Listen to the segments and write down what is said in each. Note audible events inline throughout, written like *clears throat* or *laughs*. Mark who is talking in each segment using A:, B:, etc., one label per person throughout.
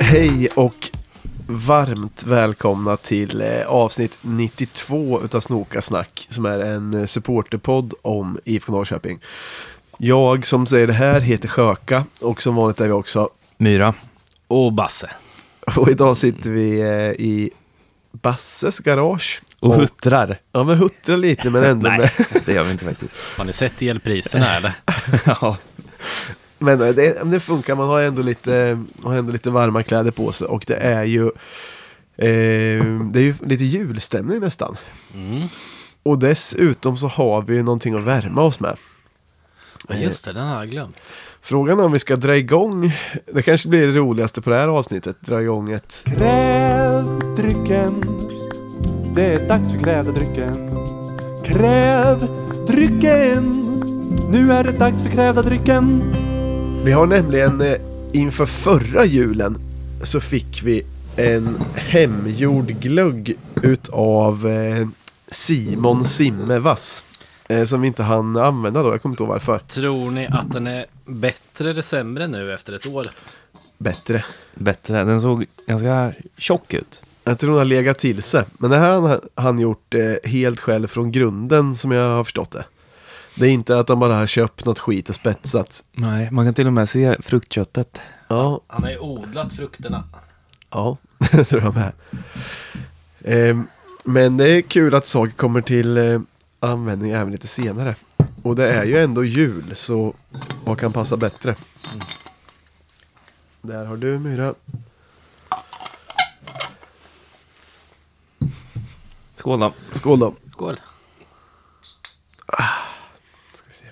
A: Hej och varmt välkomna till eh, avsnitt 92 utav Snokasnack som är en eh, supporterpodd om IFK Norrköping. Jag som säger det här heter Sjöka och som vanligt är vi också
B: Myra. Och Basse.
A: och idag sitter vi eh, i Basses garage.
C: Och huttrar.
A: Ja men huttrar lite men ändå
C: Nej,
A: med.
C: *laughs* det gör vi inte faktiskt.
B: Har ni sett elpriserna
C: *laughs*
B: eller?
C: ja.
A: Men eh, det, men det funkar, man har ändå, lite, har ändå lite varma kläder på sig och det är ju eh, Det är ju lite julstämning nästan. Och dessutom så har vi ju någonting att värma oss med.
D: Ja, just det, den har jag glömt.
A: Frågan är om vi ska dra igång, det kanske blir det roligaste på det här avsnittet, dra igång ett...
E: Kräv drycken. Det är dags för kräv drycken. Kräv drycken. Nu är det dags för krävda drycken.
A: Vi har nämligen eh, inför förra julen så fick vi en hemgjord glögg utav eh, Simon Simmevass. Eh, som vi inte hann använda då, jag kommer inte ihåg varför.
D: Tror ni att den är bättre eller sämre nu efter ett år?
A: Bättre.
C: Bättre. Den såg ganska tjock ut.
A: Jag tror hon har legat till sig. Men det här har han gjort eh, helt själv från grunden som jag har förstått det. Det är inte att han bara har köpt något skit och spetsat.
C: Nej, man kan till och med se fruktköttet.
A: Ja,
D: Han har ju odlat frukterna.
A: Ja, *laughs* det tror jag med. Ehm, men det är kul att saker kommer till eh, användning även lite senare. Och det är ju ändå jul, så vad kan passa bättre? Där har du Myra.
C: Skål då.
A: Skål då.
D: Skål!
A: Ska vi se.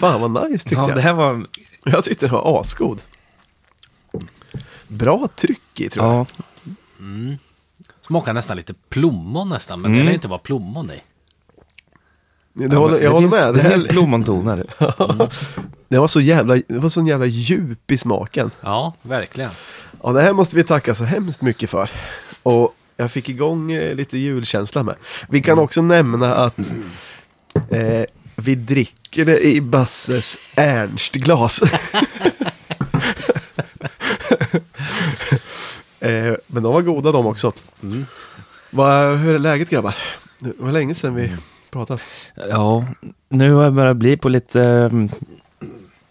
A: Fan vad nice tyckte
C: Ja,
A: jag.
C: det här var...
A: Jag tyckte den var asgod. Bra tryck i tror jag.
C: Ja,
D: Smakar nästan lite plommon nästan, men
C: Mm.
D: det är inte bara plommon i.
A: Det håller, jag
C: det
A: håller
C: finns,
A: med. Det,
C: Det finns
A: här,
C: blommontoner.
A: det var så jävla, det var sån jävla djup i smaken.
D: Ja, verkligen.
A: Ja, det här måste vi tacka så hemskt mycket för. Och jag fick igång eh, lite julkänsla med. Vi kan
C: Mm.
A: också nämna att eh, vi dricker det i Basses Ernstglas. *laughs* eh, men de var goda de också.
C: Mm.
A: Vad- hur är läget grabbar? Det var länge sedan
C: Mm.
A: vi pratade.
C: *laughs* Ja, nu har jag börjat bli på lite, ehm,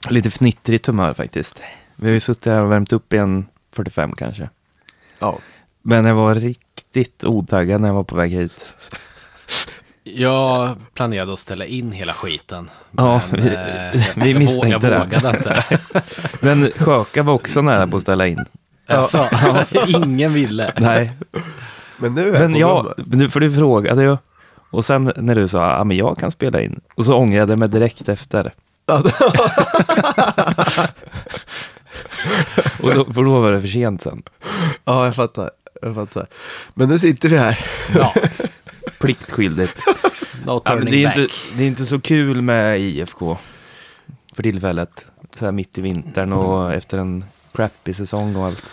C: lite fnittrigt humör faktiskt. Vi har ju suttit här och värmt upp i en 45 kanske.
A: Ja.
C: Men jag var riktigt otaggad när jag var på väg hit.
D: Jag planerade att ställa in hela skiten.
C: Ja, vi-
D: eh,
C: vi
D: jag vå-
C: misstänkte det.
D: Jag vågade inte.
C: *laughs* Men Sjöka var också nära på att ställa in.
D: Alltså, *laughs* ingen ville.
C: Nej,
A: Men nu är
C: Men
A: det
C: ja,
A: bra.
C: du- för du frågade ju. Och sen när du sa, ja men jag kan spela in. Och så ångrade jag mig direkt efter.
A: Ja,
C: Och då, för då var det för sent sen.
A: *laughs* Ja, jag fattar. Jag fattar. Men nu sitter vi här.
D: Ja,
C: Pliktskyldigt.
D: no
C: Ja, men
D: turning
C: det, är
D: back.
C: inte, det är inte så kul med IFK. För tillfället. Så här mitt i vintern
D: Mm.
C: och efter en crappy säsong och allt.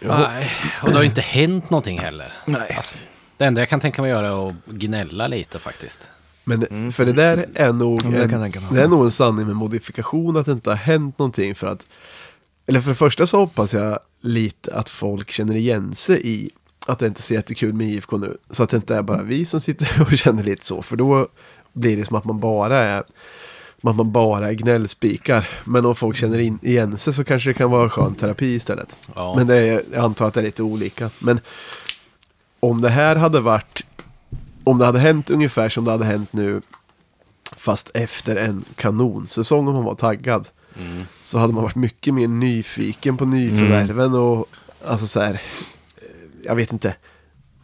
D: Nej, och det har ju inte hänt någonting heller. Alltså,
C: Nej.
D: Det enda jag kan tänka mig att göra är att gnälla lite faktiskt.
A: Men för det där är nog,
C: Ja, men jag
A: en,
C: kan tänka mig.
A: det är nog en sanning med modifikation att det inte har hänt någonting för att Eller för det första så hoppas jag lite att folk känner igen sig i att det inte är så jättekul med IFK nu. Så att det inte är bara vi som sitter *laughs* och känner lite så. För då blir det som att man bara är, som att man bara är gnällspikar. Men om folk känner in, igen sig så kanske det kan vara skön terapi istället.
D: Ja.
A: Men det är, jag antar att det är lite olika. Men om det här hade varit, om det hade hänt ungefär som det hade hänt nu, fast efter en kanonsäsong om man var taggad, så hade man varit mycket mer nyfiken på nyförvärven
C: Mm.
A: och alltså så här, eh, jag vet inte.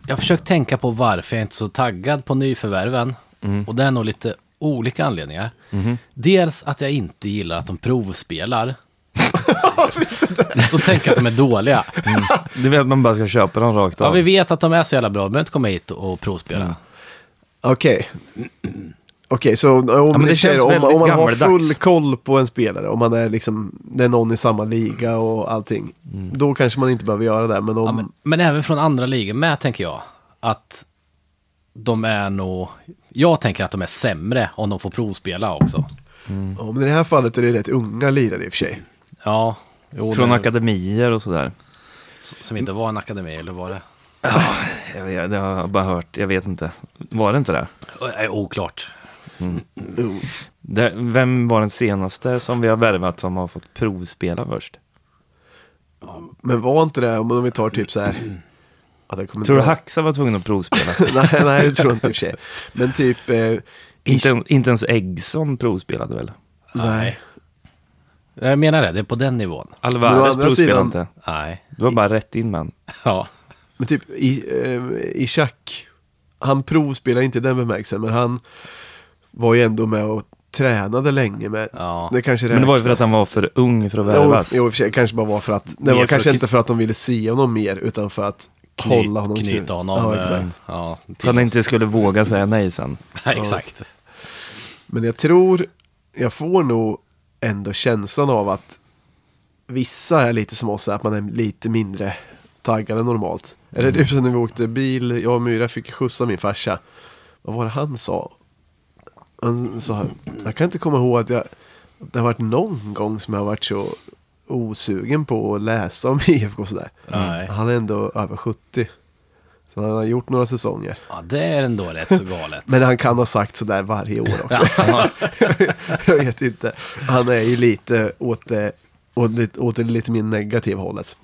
D: Jag har försökt tänka på varför jag inte är så taggad på nyförvärven. Och det är nog lite olika anledningar. Dels att jag inte gillar att de provspelar. och tänker att de är dåliga.
C: Du vet, man bara ska köpa dem rakt av.
D: Ja, vi vet att de är så jävla bra. De behöver inte komma hit och provspela.
A: Okej. Okej, så om,
C: men
A: ni
C: det
A: säger,
C: känns
A: om,
C: väldigt
A: om man har
C: gammaldags.
A: full koll på en spelare, om man är liksom, det är någon i samma liga
C: Mm.
A: och allting, då kanske man inte behöver göra det. Men om,
D: Ja, men, men även från andra ligor med, tänker jag. att de är nog... Jag tänker att de är sämre om de får provspela också.
C: Mm.
A: Ja, men i det här fallet är det rätt unga lirare i och för sig.
D: Ja, jo,
C: Från
D: det-
C: akademier och sådär.
D: som inte var en akademi, eller var det?
C: Jag, vet, jag har bara hört, jag vet inte. Var det inte det?
D: Ö, eh, Oklart.
C: det? Vem var den senaste som vi har värvat som har fått provspela först?
A: Men var inte det, om vi tar typ så här. Ja, det kommer
C: Mm. Tror du
A: inte-
C: Haxa var tvungen att provspela?
A: *laughs* nej, nej, det tror jag inte i och för sig. Men typ... Eh,
C: inte, inte ens Eggson provspelade väl?
A: Nej.
D: Jag menar det, det är på den nivån.
A: Men å
C: Alvarez
A: andra
C: provspelade
A: sidan-
C: inte.
D: Nej. *laughs*
C: Du var bara rätt in man.
D: Ja.
A: Men typ i, eh, Ishak, han provspelar inte i den bemärkelsen, men han var ju ändå med och tränade länge med.
D: Ja.
A: Det kanske
C: Men det var ju för att
A: räknas.
C: han var för ung för att
A: Jo,
C: värvas.
A: jo, i och för sig, kanske bara var för att, det
D: Mer
A: var
D: för
A: kanske
D: att kny-
A: inte för att de ville se honom mer, utan för att
D: Knyt,
A: kolla honom.
D: knyta honom.
A: Ja,
D: eh,
A: exakt.
D: Ja, till
C: Så han
D: oss.
C: inte skulle våga säga nej sen.
D: *laughs* Ja, exakt.
A: Men jag tror, jag får nog ändå känslan av att vissa är lite som oss, att man är lite mindre taggad än normalt. Eller typ som när vi åkte bil, jag och Myra fick skjutsa min farsa. Vad var det han sa? Han sa, jag kan inte komma ihåg att jag, det har varit någon gång som jag har varit så osugen på att läsa om *laughs* IFK och sådär.
D: Nej.
A: Han är ändå över 70. Så han har gjort några säsonger.
D: Ja, det är ändå rätt så *laughs* galet.
A: Men han kan ha sagt sådär varje år också. *laughs* jag vet inte. Han är ju lite åt det, åt, det- åt det lite mer negativa hållet.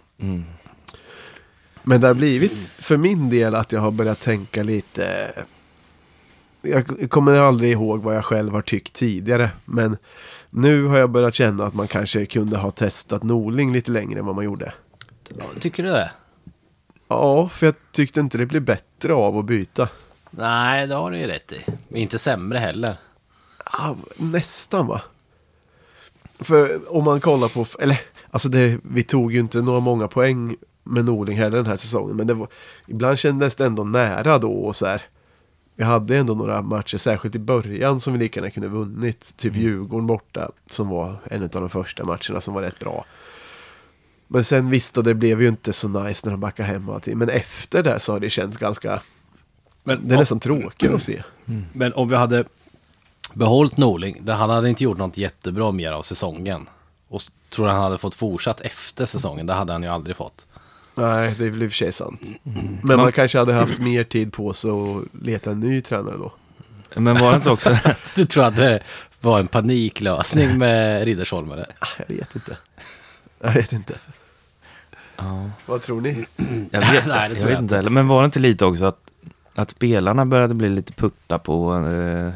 A: Men det har blivit för min del att jag har börjat tänka lite. Jag kommer aldrig ihåg vad jag själv har tyckt tidigare. Men nu har jag börjat känna att man kanske kunde ha testat Norling lite längre än vad man gjorde.
D: *laughs* Tycker du det?
A: Ja, för jag tyckte inte det blev bättre av att byta.
D: Nej, det har du ju rätt i. Inte sämre heller.
A: Ah, nästan va? För om man kollar på, eller alltså det, vi tog ju inte några många poäng med Norling heller den här säsongen. Men det var, ibland kändes det ändå nära då och så här. Vi hade ändå några matcher, särskilt i början, som vi lika gärna kunde vunnit. Typ Djurgården borta, som var en av de första matcherna som var rätt bra. Men sen visst, då, det blev ju inte så nice när de backade hem och allting. Men efter det så har det känts ganska,
D: Men,
A: det är nästan tråkigt att se.
D: men om vi hade behållit Norling, det- han hade inte gjort något jättebra mer av säsongen. Och s- tror du han hade fått fortsatt efter säsongen? Det hade han ju aldrig fått.
A: Nej, det är väl i och för sig sant.
C: Mm.
A: Men man kanske hade haft mer tid på sig att leta en ny tränare då.
C: Men var det inte också,
D: Du tror att det var en paniklösning med Riddersholmare?
C: Ah,
A: Jag vet inte. Jag vet inte. Vad tror ni?
C: jag
D: *laughs* Nej,
C: vet,
D: det
C: jag
D: tror
C: vet
D: jag
C: inte heller. Men var det inte lite också att, att spelarna började bli lite putta på eh,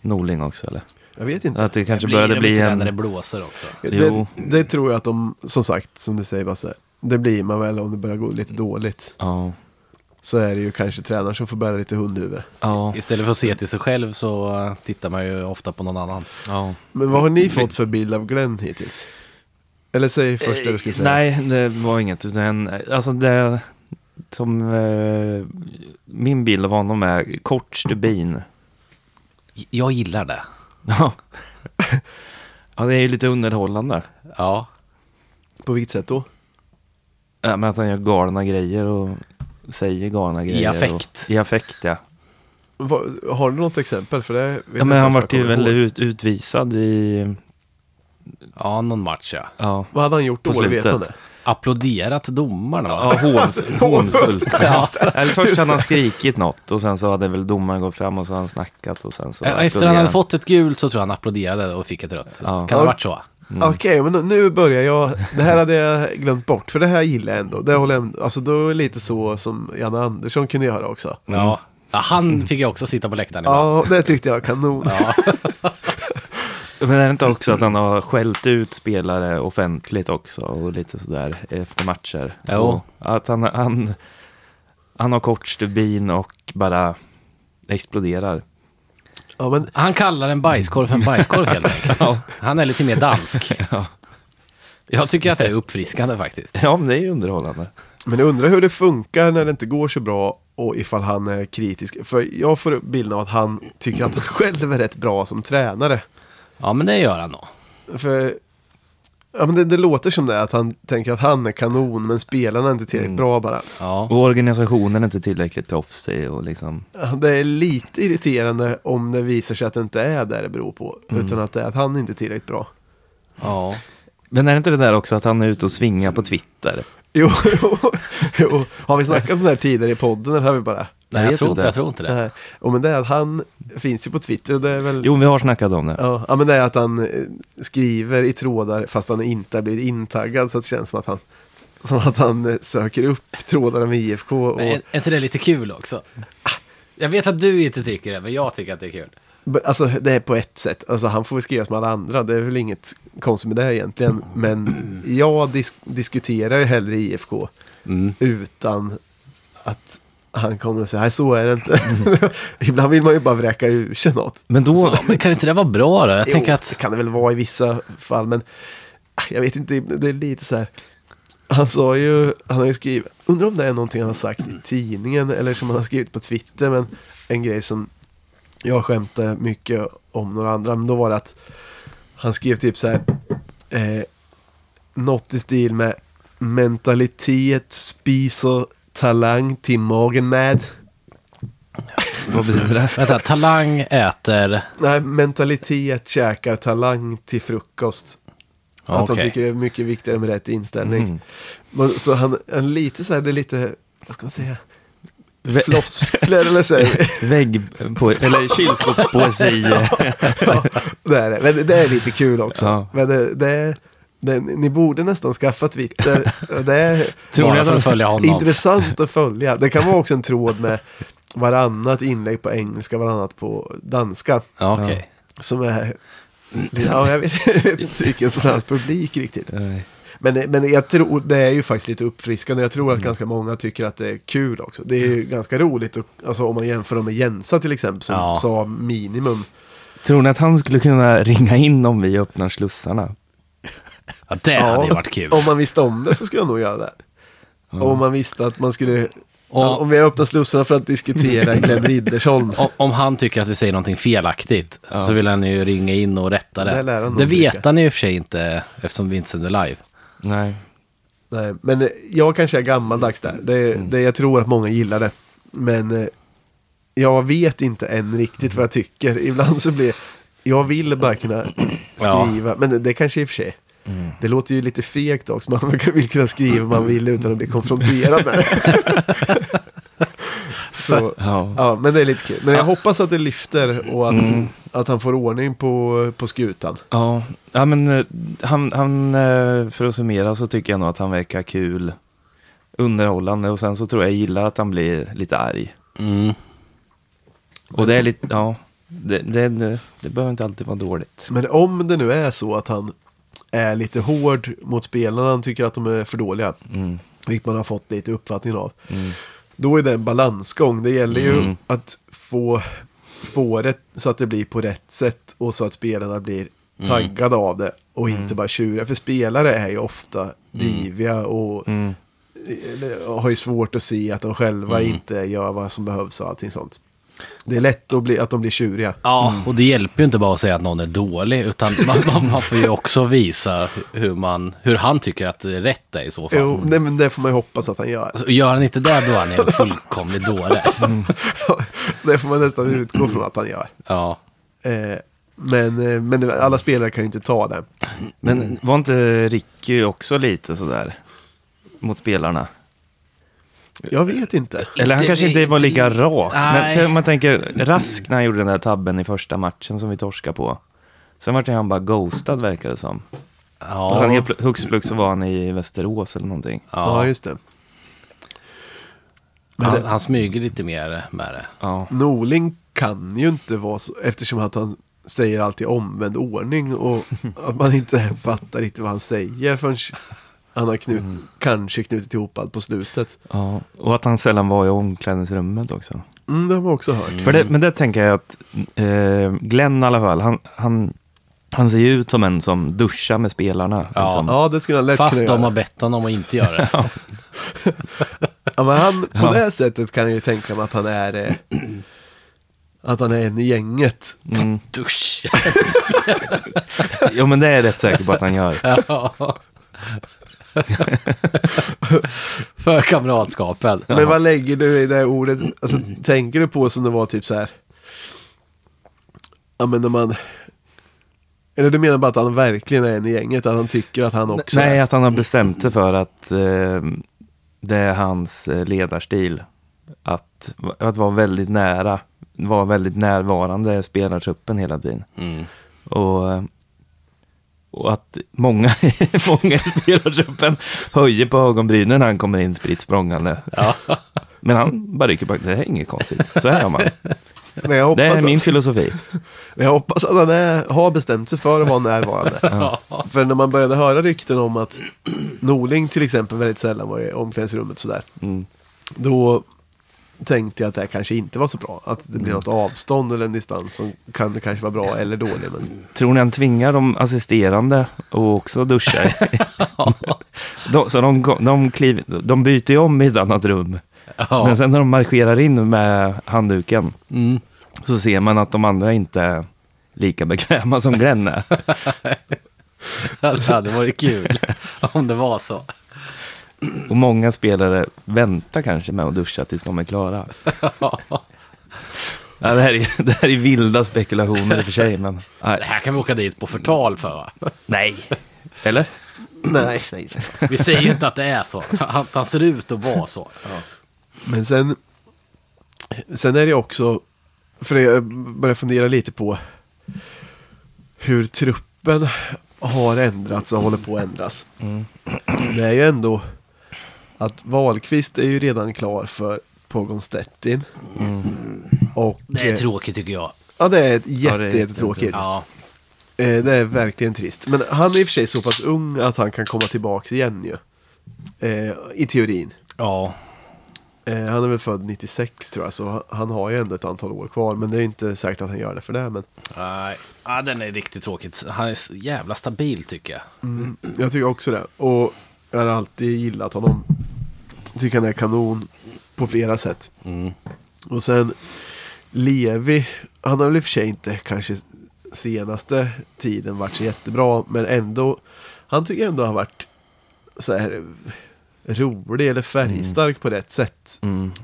C: Norling också eller?
A: Jag vet inte.
C: Att det kanske
D: blir
C: började
D: de
C: bli
D: inte det när det
C: en...
D: blåser också.
A: Det,
C: Jo.
A: det tror jag att de, som sagt, som du säger Basse, det blir man väl om det börjar gå lite dåligt.
C: Ja,
A: Så är det ju kanske tränaren som får bära lite hundhuvud.
C: ja,
D: Istället för att se till sig själv så eh, tittar man ju ofta på någon annan.
C: ja.
A: Men vad har
C: Mm.
A: ni fått för bild av Glenn hittills? Eller säg först det du skulle säga.
C: Eh, Nej, det var inget. Utan, alltså det som eh, min bild av honom är kort stubin. *laughs*
D: J- Jag gillar det.
C: Ja. ja, det är ju lite underhållande.
D: Ja,
A: På vilket sätt då?
C: Ja, men att han gör galna grejer och säger galna grejer.
D: affekt.
C: Och, I affekt, ja.
A: Vad- har du något exempel? För det vet jag
C: ja
A: inte
C: men han
A: ens vad
C: vart
A: jag
C: ju
A: kommer
C: väl
A: ihåg.
C: ut, utvisad i...
D: ja någon match ja.
C: Ja,
A: Vad hade han gjort
C: På
A: då? Vet
C: slutet.
A: man det?
D: Applåderat domarna va?
A: *laughs*
C: ja hån, hånfullt. ja. Eller först hade han skrikit något och sen så hade väl domaren gått fram och så hade han snackat och sen så...
D: Ja, Eh, Efter han
C: applåderade
D: hade fått ett gult så tror jag han applåderade och fick ett rött.
C: Ja. Mm.
D: Kan det ha varit så?
A: Okej, men nu- nu börjar jag. Det här hade jag glömt bort, för det här gillar jag ändå. Det håller jag, ändå- alltså då är det lite så som Janne Andersson kunde göra också.
D: Ja. ja. Han fick ju också sitta på läktaren ibland.
A: Ja, det tyckte jag var kanon.
C: Men är det inte också att han har skällt ut spelare offentligt också och lite sådär efter matcher?
D: Jo.
C: Och Att han, han, han har kort stubin och bara exploderar.
A: Ja, men
D: Han kallar en bajskorv för en bajskorv
C: *laughs*
D: helt enkelt. Han är lite mer dansk. Jag tycker att det är uppfriskande faktiskt.
C: Ja, men det är ju underhållande.
A: Men jag undrar hur det funkar när det inte går så bra och ifall han är kritisk. För jag får bilden av att han tycker att han själv är rätt bra som tränare.
D: Ja, men det gör han nog.
A: För Ja, men det, det låter som det, att han tänker att han är kanon, men spelarna är inte tillräckligt bra bara.
D: Ja.
C: Och organisationen är inte tillräckligt proffsig och liksom...
A: Ja, Det är lite irriterande om det visar sig att det inte är det det beror på,
D: Mm.
A: utan att det är att han inte är tillräckligt bra.
D: ja.
C: Men är det inte det där också att han är ute och svingar på Twitter?
A: Jo, jo, jo. har vi snackat om det här tidigare i podden eller har vi bara?
D: Nej,
C: Jag
D: jag,
C: vet
D: tror
C: inte.
D: inte. jag tror
A: *laughs*
D: inte det.
A: Nej. Och men det är att han finns ju på Twitter och det är väl...
C: Jo, vi har snackat om det.
A: Ja, ja, men det är att han eh, skriver i trådar fast han inte har blivit intaggad så att det känns som att han, som att han eh, söker upp trådar med IFK. Och,
D: Men är, är inte det lite kul också? Jag vet att du inte tycker det, men jag tycker att det är kul.
A: Men, Alltså det är på ett sätt, alltså han får väl skriva som alla andra, det är väl inget konstigt med det egentligen. Men jag dis- diskuterar ju hellre IFK utan att han kommer och säger nej så är det inte. *laughs* Ibland vill man ju bara vräka ur sig något.
C: Men då...
D: Så, men kan inte det vara bra då? Jag tänker
A: Jo, *laughs*
D: att...
A: Det kan det väl vara i vissa fall, men ah, jag vet inte, det är lite så här. Han sa ju, han har ju skrivit, undrar om det är någonting han har sagt i tidningen eller som han har skrivit på Twitter, men en grej som jag skämtade mycket om några andra, men då var det att han skrev typ så här, eh, något i stil med mentalitet, spis och talang till magen med.
C: Vad betyder det?
D: Vänta, talang äter...
A: Nej, mentalitet käkar talang till frukost. att
D: Ja,
A: han
D: okej. Mm.
A: tycker det är mycket viktigare med rätt inställning.
C: Mm.
A: Men, så han, han lite så här, det är lite, vad ska man säga,
C: Vä-
A: floskler eller så.
D: *laughs*
A: här.
C: Vägg... På, eller *laughs* kylskåpspoesi.
A: ja, det är det. Men det, det är lite kul också.
C: Ja.
A: Men det, det är, det, ni borde nästan skaffa Twitter. Det är
C: Tror ni
D: Bara
C: att
D: för
C: han-
D: att följa *laughs* honom.
A: intressant att följa. Det kan vara också en tråd med varannat inlägg på engelska, varannat på danska.
D: Ja, okej.
A: Som är,
D: Mm.
A: ja, jag vet, jag vet inte vilken som helst publik riktigt.
C: Nej.
A: Men, men jag tror, det är ju faktiskt lite uppfriskande. Jag tror att
D: Mm.
A: ganska många tycker att det är kul också. Det är ju ganska roligt, och, alltså, om man jämför dem med Jensa till exempel, som
D: Ja.
A: sa minimum.
C: Tror ni att han skulle kunna ringa in om vi öppnar slussarna?
D: Ja, det hade ju varit kul.
A: Om man visste om det så skulle jag nog göra det. Och om man visste att man skulle,
D: Ja.
A: om vi öppnar slussarna för att diskutera Glenn
D: *laughs*
A: Riddersholm.
D: Om, om han tycker att vi säger någonting felaktigt så vill han ju ringa in och rätta det.
A: Det lär han nog
D: det vet
A: tycka.
D: han ju i och för sig inte eftersom vi inte sänder live.
C: Nej.
A: Nej, men eh, jag kanske är gammaldags där. Det, det, jag tror att många gillar det. Men eh, jag vet inte än riktigt vad jag tycker. *laughs* Ibland så blir jag vill bara kunna *clears throat*
D: Ja.
A: skriva. Men det, det kanske i och för sig.
C: Mm.
A: Det låter ju lite fegt också. Man *laughs* vill kunna skriva vad man vill utan att bli konfronterad med det. *laughs* så,
C: Ja.
A: ja, men det är lite kul. Men jag hoppas att det lyfter och att, att han får ordning på, på skutan.
C: Ja, ja men eh, han, han, eh, för att summera så tycker jag nog att han verkar kul, underhållande och sen så tror jag jag gillar att han blir lite arg.
D: Mm.
C: Och det är lite, ja, det, det, det, det behöver inte alltid vara dåligt.
A: Men om det nu är så att han är lite hård mot spelarna, han tycker att de är för dåliga,
C: Mm.
A: vilket man har fått lite uppfattningen av, då är det en balansgång. Det gäller ju att få, få det så att det blir på rätt sätt och så att spelarna blir taggade av det och inte bara tjuriga. För spelare är ju ofta diviga och eller har ju svårt att se att de själva inte gör vad som behövs och allting sånt. Det är lätt att, bli, att de blir tjuriga.
D: Ja, Mm. och det hjälper ju inte bara att säga att någon är dålig, utan man, *laughs* man, man får ju också visa hur, man, hur han tycker att det är rätt är i så fall.
A: Jo, nej, men det får man ju hoppas att han gör.
D: Så Gör han inte det, då är han ju en fullkomlig
A: *laughs*
D: dåre.
A: det får man nästan utgå från att han gör.
D: Ja.
A: Eh, men, eh, men det- alla spelare kan ju inte ta det.
C: Men var inte Ricky också lite sådär mot spelarna?
A: Jag vet inte.
C: Eller han
D: Inte-
C: kanske inte var lika rak,
D: Nej.
C: men om man tänker Rask när han gjorde den där tabben i första matchen som vi torskade på. Sen vart ju han bara ghostad verkar det som. Alltså, Och
A: Alltså,
C: sen
D: Ja.
C: helt pl- hux flux så var han i Västerås eller någonting.
A: Ja,
D: ja.
A: just det. Men
D: Han,
A: det-
D: han smyger lite mer med det.
C: Ja.
A: Norling kan ju inte vara så, eftersom att han säger alltid omvänd ordning
D: *laughs*
A: och att man inte fattar riktigt vad han säger förrän han har knut,
D: Mm.
A: kanske knutit ihop allt på slutet.
C: Ja, och att han sällan var i omklädningsrummet också.
A: Mm, det har man också hört.
C: För det, men det tänker jag att eh, Glenn i alla fall, han, han, han ser ju ut som en som duschar med spelarna.
D: Ja.
C: liksom.
A: Ja, det skulle han lätt
D: Fast
A: kunna
D: de
A: göra.
D: har bett honom att inte göra det.
A: Ja, men han, på det sättet kan jag ju tänka mig att han är... Eh, Att han är en i gänget.
C: Mm.
D: *laughs* Dusch!
C: Jo, men det är jag rätt säker på att han gör.
D: Ja. *laughs* För kamratskapen.
A: Men vad lägger du i det här ordet? Alltså, tänker du på som det var typ så här? Ja, men när man... Eller du menar bara att han verkligen är en i gänget? Att han tycker att han också
C: Nej,
A: är...
C: att han har bestämt sig för att eh, det är hans eh, ledarstil. Att, att vara väldigt nära, vara väldigt närvarande spelartruppen hela tiden.
D: Mm.
C: Och, och att många, *laughs* många i spelartruppen höjer på ögonbrynen när han kommer in spritt språngande.
A: *laughs*
D: Ja.
C: Men han bara rycker på det här är inget konstigt. Så här gör man.
A: Nej, jag
C: Det
A: hoppas,
C: är min
A: att,
C: filosofi.
A: jag hoppas att han är, har bestämt sig för att vara närvarande. För när man började höra rykten om att Norling till exempel väldigt sällan var i omklädningsrummet sådär.
C: Mm.
A: Då tänkte jag att det här kanske inte var så bra. Att det blir något avstånd eller en distans som kan kanske vara bra eller dålig. Men
C: Tror ni han tvingar de assisterande och också duschar? de, så de, gå- de, kliv, de byter ju om i ett annat rum.
D: Ja.
C: Men sen när de marscherar in med handduken
D: Mm.
C: så ser man att de andra inte är lika bekväma som Glenn *laughs* är.
D: Det hade varit kul om det
A: *laughs*
D: var så.
C: Och många spelare väntar kanske med att duscha tills de är klara. Ja, det, här är, *laughs* det här är vilda spekulationer i och för sig, men
D: Det
C: nej.
D: här kan vi åka dit på förtal för va?
C: nej. Eller?
A: nej, nej.
D: Vi säger ju inte att det är så. Att han ser ut att vara så.
A: Men sen, sen är det också, för jag börjar fundera lite på hur truppen har ändrats och håller på att ändras.
C: Mm.
A: Det är ju ändå att Wahlqvist är ju redan klar för Pogonstedtin.
C: Mm.
A: Och,
D: Det är
A: eh,
D: tråkigt tycker jag.
A: ja, det är ett
C: Ja,
A: jätte,
C: det är
A: jättetråkigt.
D: Ja.
A: Eh, Det är verkligen trist. Men han är i och för sig så pass ung att han kan komma tillbaka igen ju. Eh, I teorin.
D: Ja.
A: Eh, han är väl född 96 tror jag, så ha- han har ju ändå ett antal år kvar. Men det är ju inte säkert att han gör det för det. Men
D: Nej. Ja, den är riktigt tråkigt. Han är så jävla stabil tycker jag.
A: jag tycker också det. Och jag har alltid gillat honom. Jag tycker han är kanon på flera sätt. Och sen Levi, han har väl i och för sig inte kanske senaste tiden varit så jättebra. Men ändå, han tycker ändå har varit så här rolig eller färgstark på rätt sätt.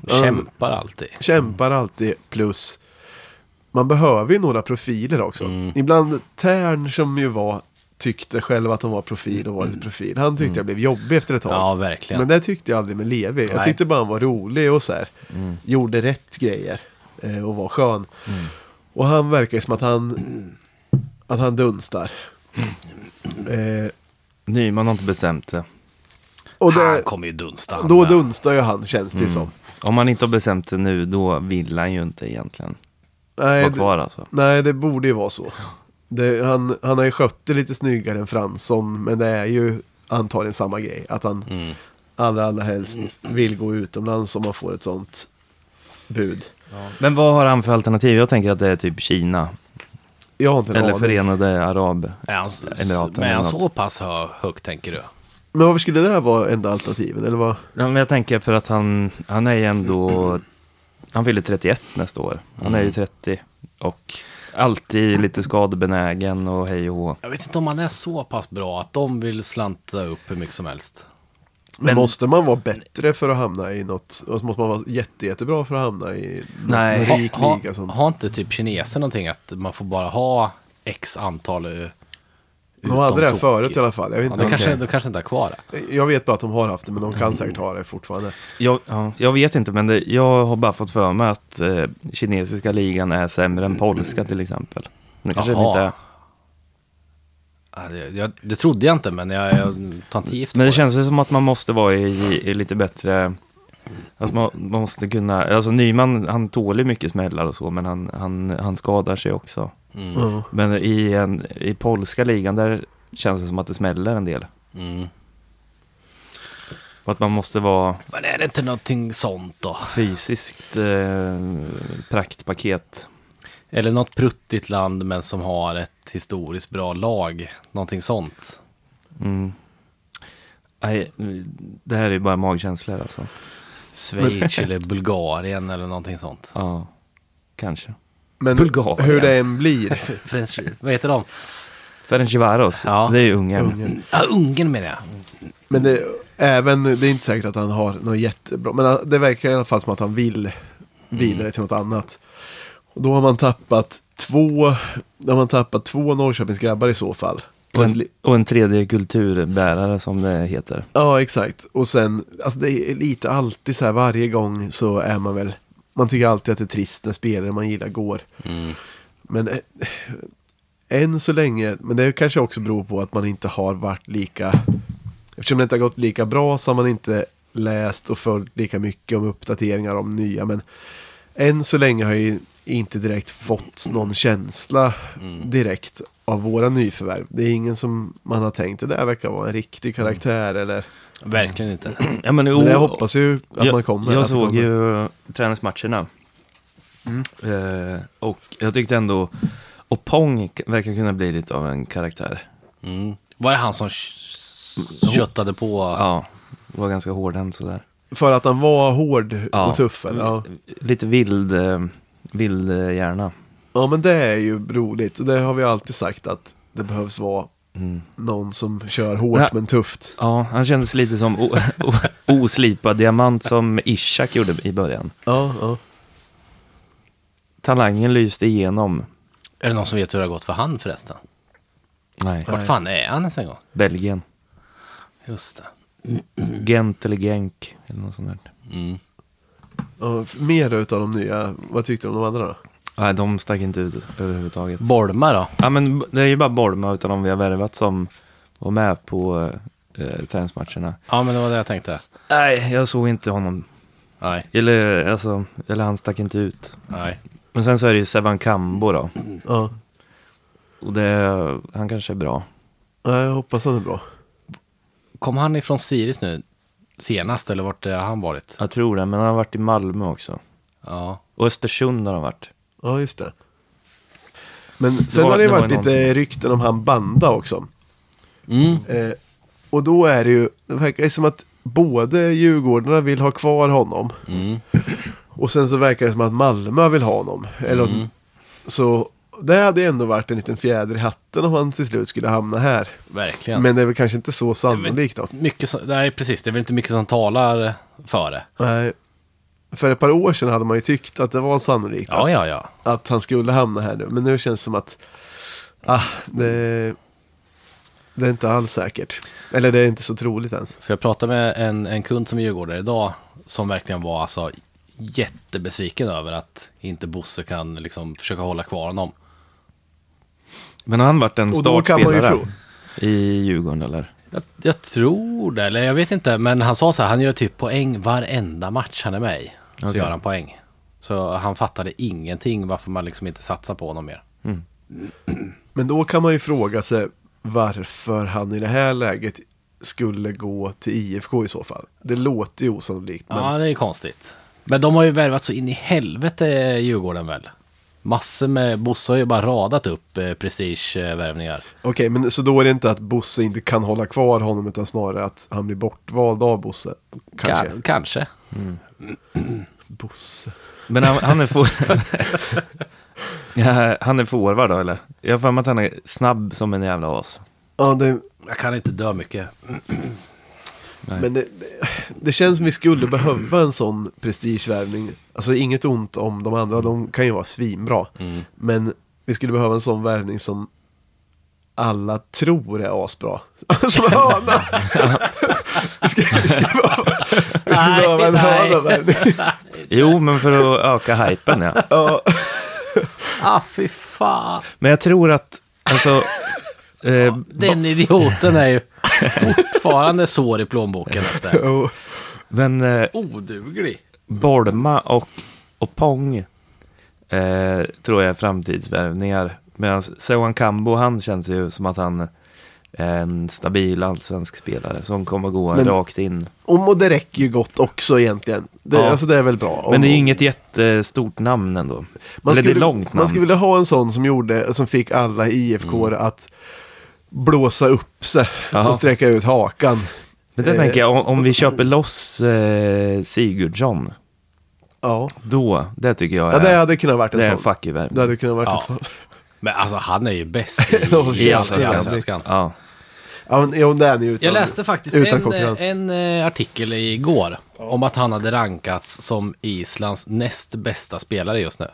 A: Ja.
D: Kämpar alltid.
A: Kämpar alltid plus man behöver ju några profiler också.
D: Mm.
A: Ibland Tern som ju var tyckte själv att han var profil och var lite profil. Han tyckte jag blev jobbig efter ett tag.
D: Mm. Ja, verkligen.
A: Men det tyckte jag aldrig med Levi. Jag
D: Nej. Mm.
A: tyckte bara han var rolig och så här. Gjorde rätt grejer eh, och var skön. Och han verkar ju som att han, att han dunstar.
D: Mm.
A: Eh,
C: Nyman har inte bestämt sig.
A: och
D: han
A: det,
D: kommer ju dunsta. han
A: då
D: med. Mm.
A: dunstar ju han känns det ju som.
C: Om han inte har bestämt sig nu, då vill han ju inte egentligen
A: Nej,
C: vara
A: det-
C: kvar alltså.
A: Nej, det borde ju vara så. Det, han, han har ju skött det lite snyggare än Fransson, men det är ju antagligen samma grej. Att han
D: Mm.
A: allra, allra helst vill gå utomlands om man får ett sånt bud.
C: Men vad har han för alternativ? Jag tänker att det är typ Kina.
A: Jag har inte en
C: Eller
A: aning.
C: Förenade Arab.
D: Är han,
C: Emiraten
D: men är
C: eller
D: han
C: något.
D: så pass hö, högt tänker du?
A: Men varför skulle det här vara enda alternativet? Eller vad?
C: Ja, men jag tänker för att han, han är ju ändå, han fyller 31 nästa år. Han är ju 30 och alltid lite skadebenägen och hej och hå.
D: Jag vet inte om han är så pass bra att de vill slanta upp hur mycket som helst.
A: Men, måste man vara bättre för att hamna i något? Och så måste man vara jätte, jättebra för att hamna i
C: Nej.
A: någon rik
D: ha,
A: liga? Som,
D: har inte typ kineser någonting att man får bara ha x antal eh,
A: de hade det här
D: utomsocker?
A: förut i alla fall. Jag vet,
D: Ja,
A: inte,
D: det
A: om-
D: kanske, Mm. de kanske inte har kvar det.
A: jag vet bara att de har haft det, men de kan säkert ha det fortfarande.
C: Jag, ja, jag vet inte, men det, jag har bara fått för mig att eh, kinesiska ligan är sämre än polska till exempel. Det kanske den
D: Jaha.
C: inte är.
D: Ja, det, jag, det trodde jag inte, men jag, jag tar inte gift
C: Men
D: på
C: det
D: det.
C: känns ju som att man måste vara i, i lite bättre... Alltså man, man måste kunna... Alltså Nyman, han tål ju mycket smällar och så, men han, han, han skadar sig också.
D: Mm.
A: Ja.
C: Men i, en, i polska ligan, där känns det som att det smäller en del.
D: Mm.
C: Och att man måste vara
D: Men är det inte någonting sånt då?
C: fysiskt eh, praktpaket.
D: Eller något pruttigt land, men som har ett historiskt bra lag. Någonting sånt.
C: Mm. Nej, det här är ju bara magkänslor alltså.
D: Schweiz eller Bulgarien eller någonting sånt.
C: Ja, kanske.
A: Men
C: Bulgarien.
A: hur det än
D: *laughs*
A: blir.
D: French, vad heter de?
C: Ferencivaros,
D: Ja.
C: det är ju Ungern.
D: Ja, Ungern menar jag.
A: Men det, även, det är inte säkert att han har något jättebra. Men det verkar i alla fall som att han vill vidare till något annat. Och då har man tappat två, då har man tappat två Norrköpingsgrabbar i så fall.
C: Och en, och en tredje kulturbärare som det heter.
A: Ja, exakt. Och sen, alltså det är lite alltid så här varje gång så är man väl, man tycker alltid att det är trist när spelare man gillar går. Men eh, än så länge, men det kanske också beror på att man inte har varit lika, eftersom det inte har gått lika bra så har man inte läst och följt lika mycket om uppdateringar om nya. Men än så länge har jag ju inte direkt fått någon känsla direkt av våra nyförvärv. Det är ingen som man har tänkt, det där verkar vara en riktig karaktär eller
D: Verkligen inte.
C: Ja, men,
A: men jag hoppas ju att
C: jag,
A: man kommer.
C: Jag
A: att det
C: såg
A: kommer.
C: ju träningsmatcherna. Eh, och jag tyckte ändå Opong k- verkar kunna bli lite av en karaktär.
D: Mm. Var det han som kö- köttade på?
C: Ja, var ganska hårdhänt sådär.
A: För att han var hård och tuff. Eller? Ja.
C: Mm. Lite vild, eh, vild eh, hjärna.
A: ja, men det är ju roligt. Och Det har vi alltid sagt att det behövs vara
C: Mm.
A: någon som kör hårt
C: Nej.
A: men tufft.
C: Ja, han kändes lite som o- *laughs* o- oslipad diamant som Ishak gjorde i början.
A: Ja, ja.
C: Talangen lyste igenom.
D: Är det någon som vet hur det har gått för han förresten?
C: Nej,
D: Vart fan är han ens en gång?
C: Belgien.
D: Just det.
C: Gent eller Genk eller något sånt där.
D: Mm.
A: Och f- mer utav de nya, vad tyckte du om de andra då?
C: Nej, de stack inte ut överhuvudtaget.
D: Bolma då?
C: Ja, men b- det är ju bara Bournemouth utan de vi har värvat som var med på eh, träningsmatcherna.
D: Ja, men det var det jag tänkte.
C: Nej, jag såg inte honom.
D: Nej,
C: Eller, alltså, eller han stack inte ut.
D: nej.
C: Men sen så är det ju Sevan Kambo då.
A: Ja.
C: Och det, han kanske är bra.
A: Ja, jag hoppas han är bra.
D: Kom han ifrån Sirius nu senast eller vart eh, har han varit?
C: Jag tror det, men han har varit i Malmö också.
D: Ja.
C: Och Östersund har han varit.
A: Ja, just det. Men sen
C: var-
A: har det,
C: det var
A: varit
C: ju
A: lite
C: någonting.
A: rykten om han Banda också.
D: Mm.
A: Eh, och då är det ju, det verkar ju som att både Djurgårdarna vill ha kvar honom.
D: Mm.
A: Och sen så verkar det som att Malmö vill ha honom. Eller,
D: Mm.
A: Så det hade ju ändå varit en liten fjäder i hatten om han till slut skulle hamna här.
D: Verkligen.
A: Men det är väl kanske inte så sannolikt då.
D: Mycket som, nej, precis. Det är väl inte mycket som talar för det.
A: Nej. För ett par år sedan hade man ju tyckt att det var sannolikt
D: Ja,
A: att,
D: ja, ja.
A: att han skulle hamna här nu. Men nu känns det som att ah, det, det är inte alls säkert. Eller det är inte så troligt ens.
D: För jag pratade med en, en kund som är djurgårdare idag som verkligen var alltså jättebesviken över att inte Bosse kan liksom försöka hålla kvar honom.
C: Men har han varit en
A: Och då kan man ju
C: startspelare
A: tro.
C: i Djurgården eller?
D: Jag, jag tror det, eller jag vet inte, men han sa så här, han gör typ poäng varenda match han är med i. Så
C: Okej.
D: gör han poäng. Så han fattade ingenting varför man liksom inte satsar på honom mer.
A: Men då kan man ju fråga sig varför han i det här läget skulle gå till IFK i så fall. Det låter ju osannolikt. Men...
D: Ja, det är konstigt. Men de har ju värvat så in i helvete eh, Djurgården väl. Massor med, Bosse har ju bara radat upp eh, prestigevärvningar.
A: Okej, men så då är det inte att Bosse inte kan hålla kvar honom utan snarare att han blir bortvald av Bosse. Kanske.
D: Ka- kanske.
A: Bosse.
C: Men han, han är for...
A: *laughs*
C: *laughs* ja, han är forward då eller? Jag har för mig att han är snabb som en jävla as.
A: Ja, det,
D: Jag kan inte dö mycket.
A: men det, det, det känns som vi skulle behöva en sån prestigevärvning. Alltså inget ont om de andra, de kan ju vara svinbra.
C: Mm.
A: Men vi skulle behöva en sån värvning som alla tror är asbra. *laughs*
C: *laughs*
A: Som höna! vi skulle, vi skulle behöva, vi skulle
D: Nej,
A: behöva en
D: nej.
A: hönavärvning.
C: Jo, men för att öka hypen ja.
A: Ja,
D: *laughs* Ah, fy fan.
C: Men jag tror att, alltså, eh,
D: Den idioten är ju *laughs* fortfarande sår i plånboken *laughs* efter.
A: och-
C: men eh,
D: Oduglig.
C: Bolma och, och Pong eh, tror jag är framtidsvärvningar. Medan Sewan Kambo, han känns ju som att han är en stabil allsvensk spelare som kommer gå
A: Men-
C: rakt in.
A: Om och det räcker ju gott också egentligen. Det,
C: Ja.
A: Alltså det är väl bra.
C: Men det är ju
A: Om-
C: inget jättestort namn ändå.
A: Man
C: Eller
A: skulle,
C: det är långt namn.
A: man skulle vilja ha en sån som gjorde, som fick alla IFK
C: Mm.
A: att blåsa upp sig
C: Ja.
A: och sträcka ut hakan.
C: Men det tänker jag, om, om vi köper loss eh, Sigurdsson
A: Ja,
C: Då, det tycker jag är,
A: ja det hade kunnat varit en
C: det är
A: sån.
C: en fuck you värvning.
A: Det hade kunnat varit en
D: Ja.
A: sån.
D: Men alltså han är ju *laughs* bäst i,
A: I
D: i
A: Allsvenskan.
D: allsvenskan.
C: Ja.
A: Ja, men, jo, det är ni utan.
D: Jag läste faktiskt
A: utan
D: en, eh,
A: konkurrens.
D: en eh, artikel igår om att han hade rankats som Islands näst bästa spelare just nu.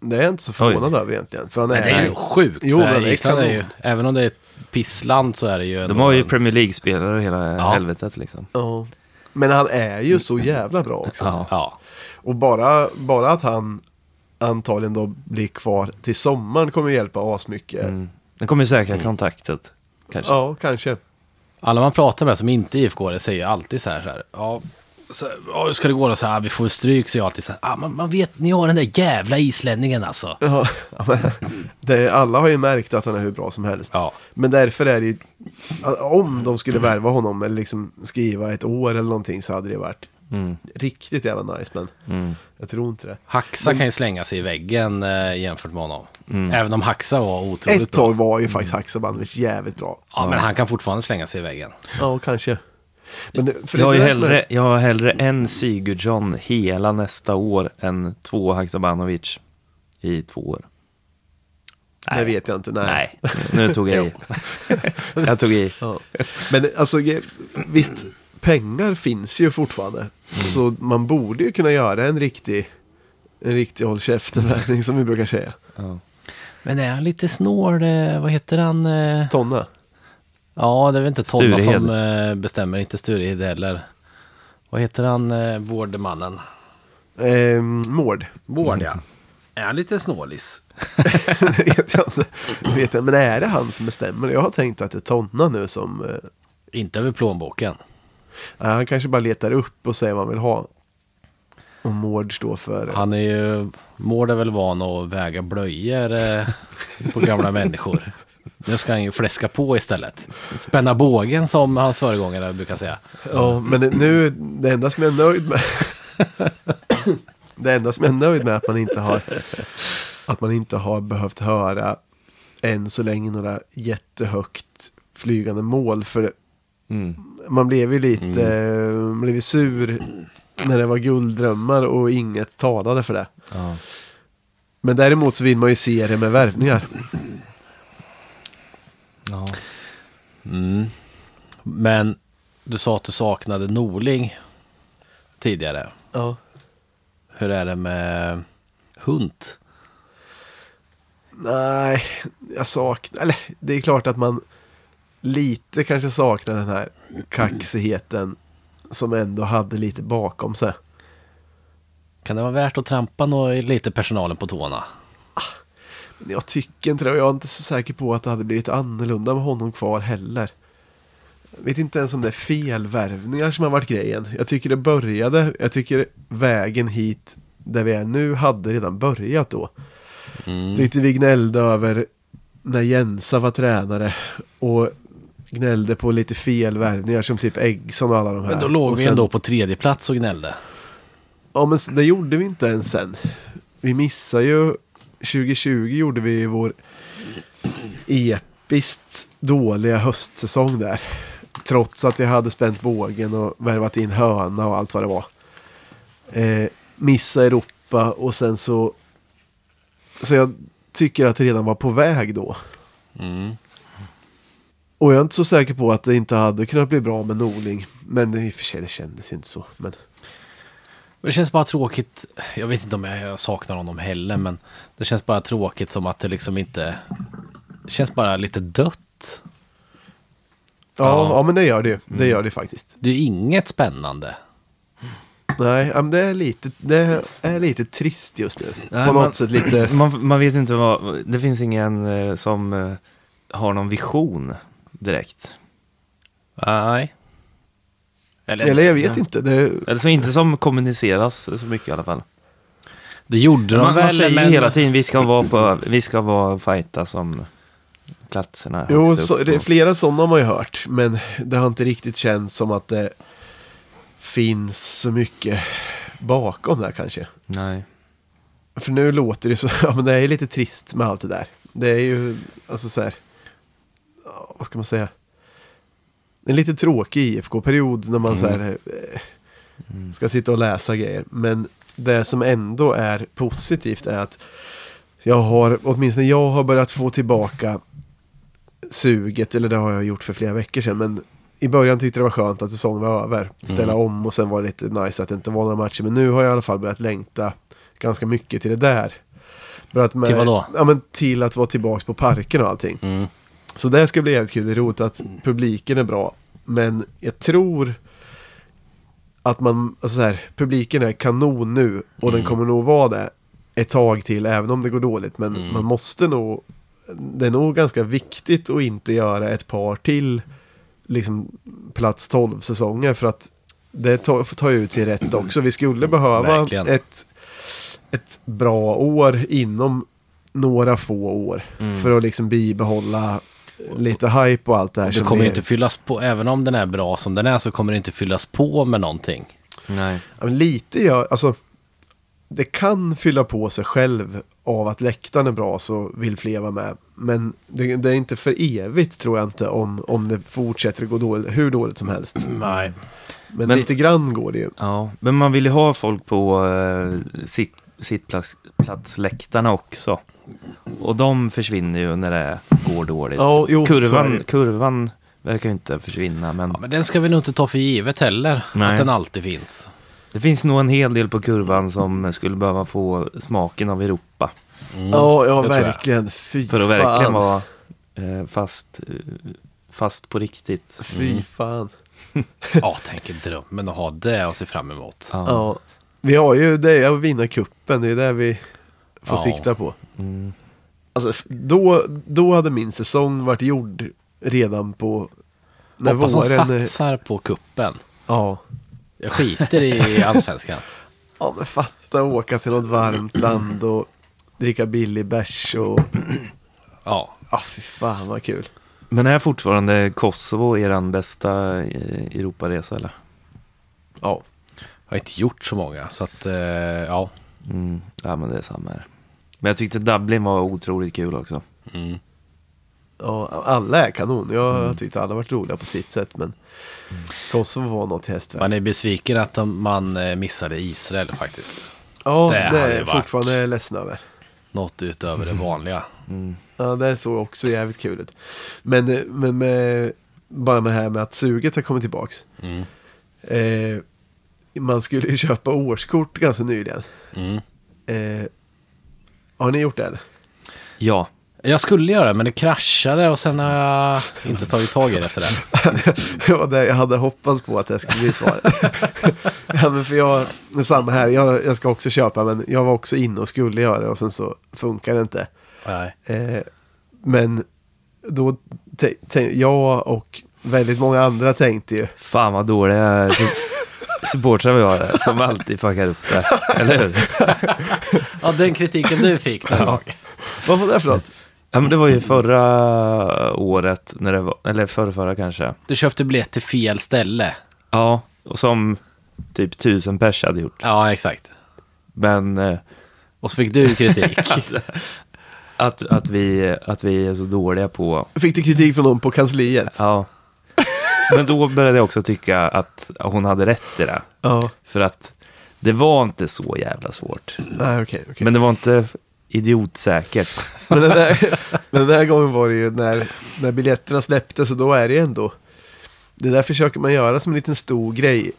A: Det är jag inte så förvånad över egentligen. För han är,
D: Men det är ju sjukt,
A: Jo,
D: för
A: men det är
D: Island är ju,
A: kanon.
D: även om det är ett pissland så är det ju ändå
C: De har ju
D: en-
C: Premier League-spelare och hela
D: Ja.
C: helvetet liksom.
A: Ja. Men han är ju så jävla bra också.
C: Ja.
D: Ja,
A: Och bara, bara att han antagligen då blir kvar till sommaren kommer ju hjälpa asmycket.
C: Mm. Den kommer ju säkra kontraktet. Kanske.
A: Ja, kanske.
D: alla man pratar med som inte är IFK säger alltid så här, så här ja, så, ja, hur ska det gå då? Så här, vi får stryk, säger jag alltid så här. Ah, man, man vet, ni har den där jävla islänningen alltså.
A: Ja, men det, alla har ju märkt att han är hur bra som helst.
D: Ja.
A: Men därför är det ju, om de skulle värva honom eller liksom skriva ett år eller någonting så hade det varit
C: Mm.
A: riktigt jävla nice. Men
C: Mm.
A: jag tror inte det.
D: Haxa kan ju slänga sig i väggen eh, jämfört med honom.
C: Mm.
D: Även om Haxa var otroligt
A: Ett tag
D: bra.
A: var ju faktiskt Haksabanovic jävligt bra.
D: Ja, men han kan fortfarande slänga sig i väggen.
A: Ja, kanske. Men det, för det
C: Jag, har
A: är
C: ju
A: det som är-
C: hellre, jag har hellre en Sigurdsson hela nästa år än två Haksabanovic i två år.
A: Det vet jag inte. Nej.
C: Nej, nu tog jag i. jag tog i.
A: Ja. Men alltså, ge- visst, pengar finns ju fortfarande.
C: Mm.
A: Så man borde ju kunna göra en riktig, en riktig håll käften som vi brukar säga.
D: Men är han lite snål, eh, vad heter han? eh?
A: Tonna.
D: Ja, det är väl inte Tonna
C: Sturehed.
D: som eh, bestämmer, inte Sturehed heller. Vad heter han, eh, vårdmannen?
A: Eh, Mård. *laughs*
D: Vård, ja. Är han lite snålis?
A: det vet jag inte. Det vet jag. Men är det han som bestämmer? Jag har tänkt att det är Tonna nu som... Eh, äh,
D: Inte över plånboken.
A: han kanske bara letar upp och säger vad han vill ha. Och Mård står för...
D: Han är ju, Mård är väl van att väga blöjor eh, på gamla människor. Nu ska han ju fläska på istället. Spänna bågen som hans föregångare brukar säga.
A: Ja, men det- nu, det enda som jag är nöjd med. det enda som jag är nöjd med är att man inte har, att man inte har behövt höra än så länge några jättehögt flygande mål. För
C: Mm.
A: man blev ju lite, eh, man blev ju sur när det var gulddrömmar och inget talade för det.
C: Ja.
A: Men däremot så vill man ju se det med värvningar.
C: Ja.
D: Mm. Men du sa att du saknade Norling tidigare.
A: Ja.
D: Hur är det med Hunt?
A: Nej, jag saknar, eller det är klart att man lite kanske saknar den här kaxigheten som ändå hade lite bakom sig.
D: Kan det vara värt att trampa nå- lite personalen på tårna?
A: Men jag tycker inte det och jag är inte så säker på att det hade blivit annorlunda med honom kvar heller. Jag vet inte ens om det är felvärvningar som har varit grejen. Jag tycker det började, jag tycker vägen hit där vi är nu hade redan börjat då.
D: Mm.
A: Tyckte vi gnällde över när Jensa var tränare och gnällde på lite felvärvningar som typ Eggson och alla de här.
D: Men då låg
A: och
D: vi
A: sen-
D: ändå på tredje plats och gnällde.
A: Ja men s- det gjorde vi inte ens sen. Vi missar ju, 2020 gjorde vi vår episkt dåliga höstsäsong där. Trots att vi hade spänt bågen och värvat in höna och allt vad det var. Eh, missa Europa och sen så... Så jag tycker att det redan var på väg då.
D: Mm.
A: Och jag är inte så säker på att det inte hade kunnat bli bra med Norling. Men i och för sig, det kändes ju inte så. Men...
D: Men Det känns bara tråkigt. Jag vet inte om jag jag saknar honom heller, men det känns bara tråkigt som att det liksom inte... Det känns bara lite dött.
A: Ja, ja, men det gör det ju. Det gör det faktiskt.
D: Det är ju inget spännande.
A: Nej, ja, men det är lite, det är lite trist just nu.
C: Nej,
A: på något
C: men-
A: sätt
C: *clears throat*
A: lite...
C: Man, man vet inte vad, det finns ingen eh, som eh, har någon vision direkt.
D: Nej. Eller,
A: Eller jag vet inte. Det,
C: Eller så inte som kommuniceras så mycket i alla fall.
D: det gjorde de
C: Man, man
D: väl,
C: säger ju
D: men...
C: hela tiden vi ska vara *clears throat* på, vi ska vara fighta som platserna.
A: jo,
C: högst
A: så,
C: upp.
A: det, flera sådana har man ju hört. Men det har inte riktigt känts som att det finns så mycket bakom där kanske.
C: Nej.
A: För nu låter det så... *laughs* Ja, men det är lite trist med allt det där. Det är ju, alltså så här... ja, Vad ska man säga? En lite tråkig IFK-period när man så här... eh, Ska sitta och läsa grejer. Men det som ändå är positivt är att jag har, åtminstone jag har börjat få tillbaka suget, eller det har jag gjort för flera veckor sedan, men i början tyckte det var skönt att säsongen var över. Ställa om och sen var det lite nice att det inte var några matcher. Men nu har jag i alla fall börjat längta ganska mycket till det där. Börjat med,
D: Till vadå?
A: Ja, men till att vara tillbaka på parken och allting.
D: Mm.
A: Så det ska bli jävligt kul. Det är roligt att publiken är bra. Men jag tror att man, alltså så här, publiken är kanon nu och den kommer nog vara det ett tag till även om det går dåligt. Men man måste nog, det är nog ganska viktigt att inte göra ett par till liksom plats 12 säsonger för att det tar, tar ju ut sin rätt också. Vi skulle behöva
D: Verkligen.
A: ett, ett bra år inom några få år för att liksom bibehålla lite hype och allt det här.
D: Det
A: som
D: kommer
A: vi-
D: ju inte fyllas på, även om den är bra som den är så kommer det inte fyllas på med någonting.
C: Nej.
A: Ja, men lite gör, alltså det kan fylla på sig själv av att läktaren är bra så vill fler vara med. Men det, det är inte för evigt tror jag inte om, om det fortsätter att gå dåligt, hur dåligt som helst.
D: Nej.
A: Men,
C: Men-
A: lite grann går det ju.
C: Ja, men man vill ju ha folk på eh, sitt, sittplatsläktarna också. Och de försvinner ju när det går dåligt.
A: Ja, jo, så är det
C: kurvan,
A: ju.
C: kurvan verkar ju inte försvinna, men
D: Ja, men den ska vi nog inte ta för givet heller,
C: Nej.
D: att den alltid finns.
C: det finns nog en hel del på kurvan som skulle behöva få smaken av Europa.
D: Mm.
A: ja, ja
D: det tror jag.
A: verkligen. Fy
C: För att
A: fan.
C: verkligen vara eh, fast, eh, fast på riktigt.
A: Fy fan.
D: Ja, tänk en dröm, men att ha det att se fram emot.
C: Ja.
A: Ja. Vi har ju det att vinna kuppen, det är det vi får
D: Ja.
A: sikta på.
C: Mm.
A: Alltså, f- då, då hade min säsong varit gjord redan på... När
D: Hoppas de
A: våren...
D: satsar på kuppen.
A: Ja.
D: Jag skiter i allsvenskan.
A: Ja men fatta att åka till något varmt land och dricka billig bärs och...
D: Ja,
A: Ja fy fan vad kul.
C: Men är fortfarande Kosovo er bästa eh, Europaresa eller?
A: Ja.
D: jag har inte gjort så många, så att eh, ja.
C: Mm. Ja men det är samma här. Men jag tyckte Dublin var otroligt kul också.
D: Mm.
A: ja alla är kanon. Jag tyckte alla varit roliga på sitt sätt men...
D: Mm.
A: Kosovo var något till hästväg.
D: Man är besviken att de- man eh, missade Israel faktiskt.
A: Ja
D: det
A: det,
D: hade
A: är
D: varit.
A: jag fortfarande ledsen över.
D: Något utöver det vanliga.
A: Ja det såg också jävligt kul ut. Men, eh, men med, bara med det här med att suget har kommit tillbaks.
D: Mm.
A: Eh, man skulle ju köpa årskort ganska nyligen.
D: Mm.
A: Eh, har ni gjort det? eller? *laughs*
C: Ja.
D: Jag skulle göra det, men det kraschade och sen har jag inte tagit tag i det efter det.
A: Det var det jag hade hoppats på att det skulle bli svaret. *laughs* ja, men för jag, men samma här, jag, jag ska också köpa men jag var också inne och skulle göra det och sen så funkar det inte.
D: Nej.
A: Eh, men då, te, te, jag och väldigt många andra tänkte ju,
C: Fan vad dåliga sup- supportrar vi har där, som alltid fuckar upp det. Eller hur?
D: Ja, den kritiken du fick någon gång.
A: vad var det för något?
C: Ja men det var ju förra året, när det var, eller förra, förra kanske.
D: Du köpte biljett till fel ställe.
C: Ja, och som typ tusen pers hade gjort.
D: Ja, exakt.
C: Men eh,
D: Och så fick du kritik.
C: att, att, vi, att vi är så dåliga på
A: Fick du kritik från någon på kansliet?
C: Ja. *laughs* Men då började jag också tycka att hon hade rätt i det.
A: Ja.
C: För att det var inte så jävla svårt.
A: Nej okej. okej.
C: Men det var inte idiotsäkert.
A: Men, den där, *laughs* men den där gången var det ju när, när biljetterna släpptes och då är det ju ändå, det där försöker man göra som en liten stor grej.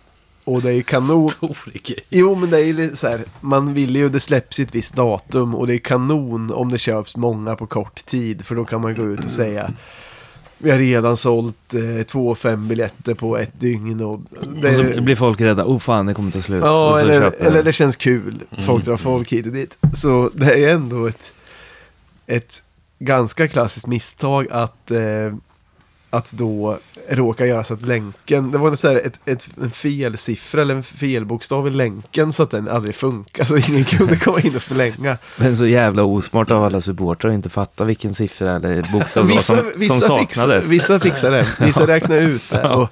A: Och det är ju kanon,
D: Stor grej.
A: Jo, men det är ju lite så här, man vill ju, det släpps ju ett visst datum och det är kanon om det köps många på kort tid, för då kan man gå ut och säga vi har redan sålt eh, två fem biljetter på ett dygn och det
C: Och så
A: är,
C: blir folk rädda. Oh fan, det kommer ta slut. och
A: ja,
C: så
A: eller,
C: köper Mm. de.
A: eller det känns kul. Folk drar folk hit och dit. Så det är ändå ett, ett ganska klassiskt misstag att, eh, att då råka göra så att länken, det var så här ett, ett, en felsiffra eller en felbokstav i länken så att den aldrig funkar så
C: *laughs*
A: ingen kunde komma in och förlänga.
C: Men så jävla osmart av alla supportrar att inte fatta vilken siffra eller bokstav det var
A: Vissa,
C: som,
A: vissa,
C: som
A: fixade,
C: saknades.
A: vissa fixade det,
C: *laughs*
A: vissa räknade ut det och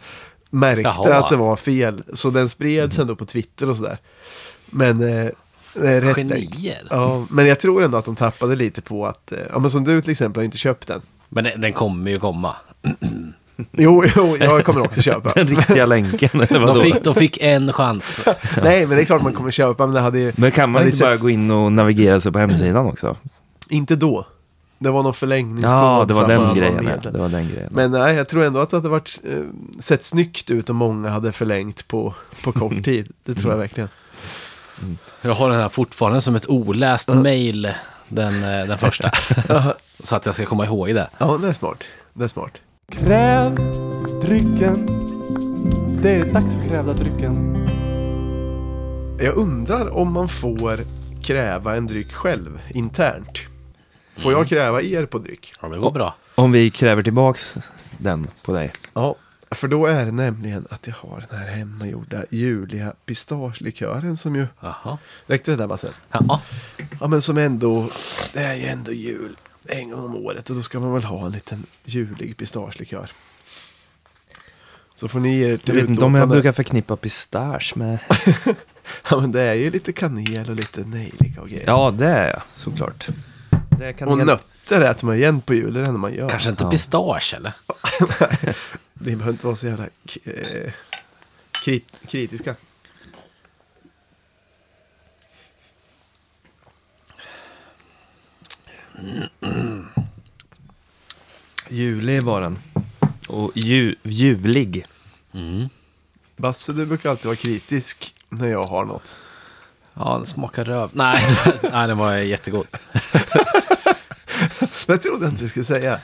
A: märkte
D: Jaha.
A: att det var fel. Så den spreds
C: Mm.
A: ändå på Twitter och sådär. Men eh, det är rätt enkelt.
D: Genier.
A: Ja, men jag tror ändå att de tappade lite på att, eh, ja men som du till exempel har inte köpt den.
D: Men den, den kommer ju komma.
A: Jo, jo, jag kommer också
C: *laughs*
A: köpa.
C: Den riktiga länken, eller vadå?
D: De fick, de fick en chans.
A: Nej, men det är klart man kommer köpa. Men det hade ju
C: Men kan man
A: Hade
C: inte bara
A: sett- Mm.
C: gå in och navigera sig på hemsidan också?
A: inte då. Det var någon förlängningskod.
C: Ja, det var
A: fram och
C: den
A: alla
C: grejen. ja.
A: medel.
C: Det var den grejen.
A: Men nej, jag tror ändå att det hade varit, eh, sett snyggt ut om många hade förlängt på, på kort tid. Det tror jag verkligen.
D: Jag har den här fortfarande som ett oläst mail, den, eh, den första. Så att jag ska komma ihåg det.
A: Ja, det är smart. Det är smart.
E: Kräv drycken. Det är dags för krävda drycken.
A: Jag undrar om man får kräva en dryck själv, internt. Får jag kräva er på dryck?
D: Mm. Ja, det går bra.
C: Om vi kräver tillbaks den på dig.
A: Ja, för då är det nämligen att jag har den här hemmagjorda Julia pistagelikören som ju...
D: Jaha.
A: Räckte det där Basse?
D: Ja.
A: Ja, men som ändå... Det är ju ändå jul en gång om året och då ska man väl ha en liten julig pistagelikör. Så får ni er
C: Jag vet inte om jag brukar förknippa pistage med...
A: *laughs* Ja, men det är ju lite kanel och lite nejlika och grejer.
C: Ja, det är jag såklart. Det kan
A: och
C: jag-
A: nötter äter man igen på julen när man gör.
D: Kanske inte
C: Ja.
D: pistage eller?
A: Ni behöver inte vara så jävla k- eh, krit- kritiska.
C: Julig var den. Och ju, ljuvlig.
D: Mm.
A: Basse, du brukar alltid vara kritisk när jag har något.
D: Ja, den smakar röv. Nej, *laughs* det var- nej, den var jättegod.
A: Det trodde jag inte du skulle säga.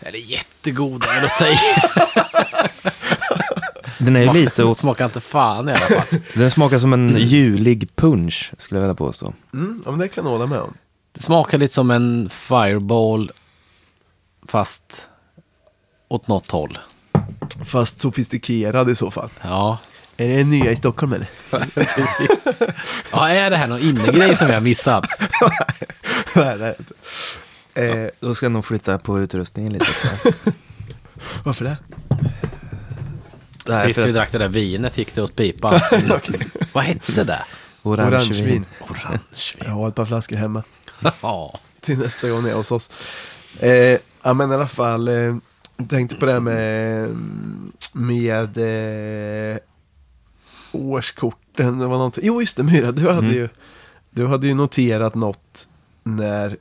D: Eller jättegod, är det att ta i.
C: Den är ju lite åt...
D: Smakar inte fan i alla fall.
C: Den smakar som en julig punch, skulle jag vilja påstå.
A: Mm, ja, men det kan jag hålla med om.
D: Det smakar lite som en fireball, fast åt något håll.
A: Fast sofistikerad i så fall.
D: Ja,
A: Är det nya i Stockholm eller? *laughs*
D: precis. Ja, är det här någon innegrej som vi har missat?
C: *laughs*
A: Nej, det är det inte. Eh,
C: Då ska jag nog flytta på utrustningen lite. tror
A: *laughs*
C: jag.
A: varför det?
C: Det här är
D: Sist
C: för
D: vi
C: att-
D: drack det där vinet gick det åt
C: *laughs*
D: pipan. Vad hette det?
C: Orangevin.
A: Jag
D: Orangevin.
A: har ett par flaskor hemma.
D: Ja.
A: Till nästa gång ni är hos oss. Eh, ja men i alla fall. Eh, jag tänkte på det här med. Med. Eh, årskorten. Det var någonting. Jo just det Myra. Du hade
C: Mm.
A: ju. Du hade ju noterat något. När.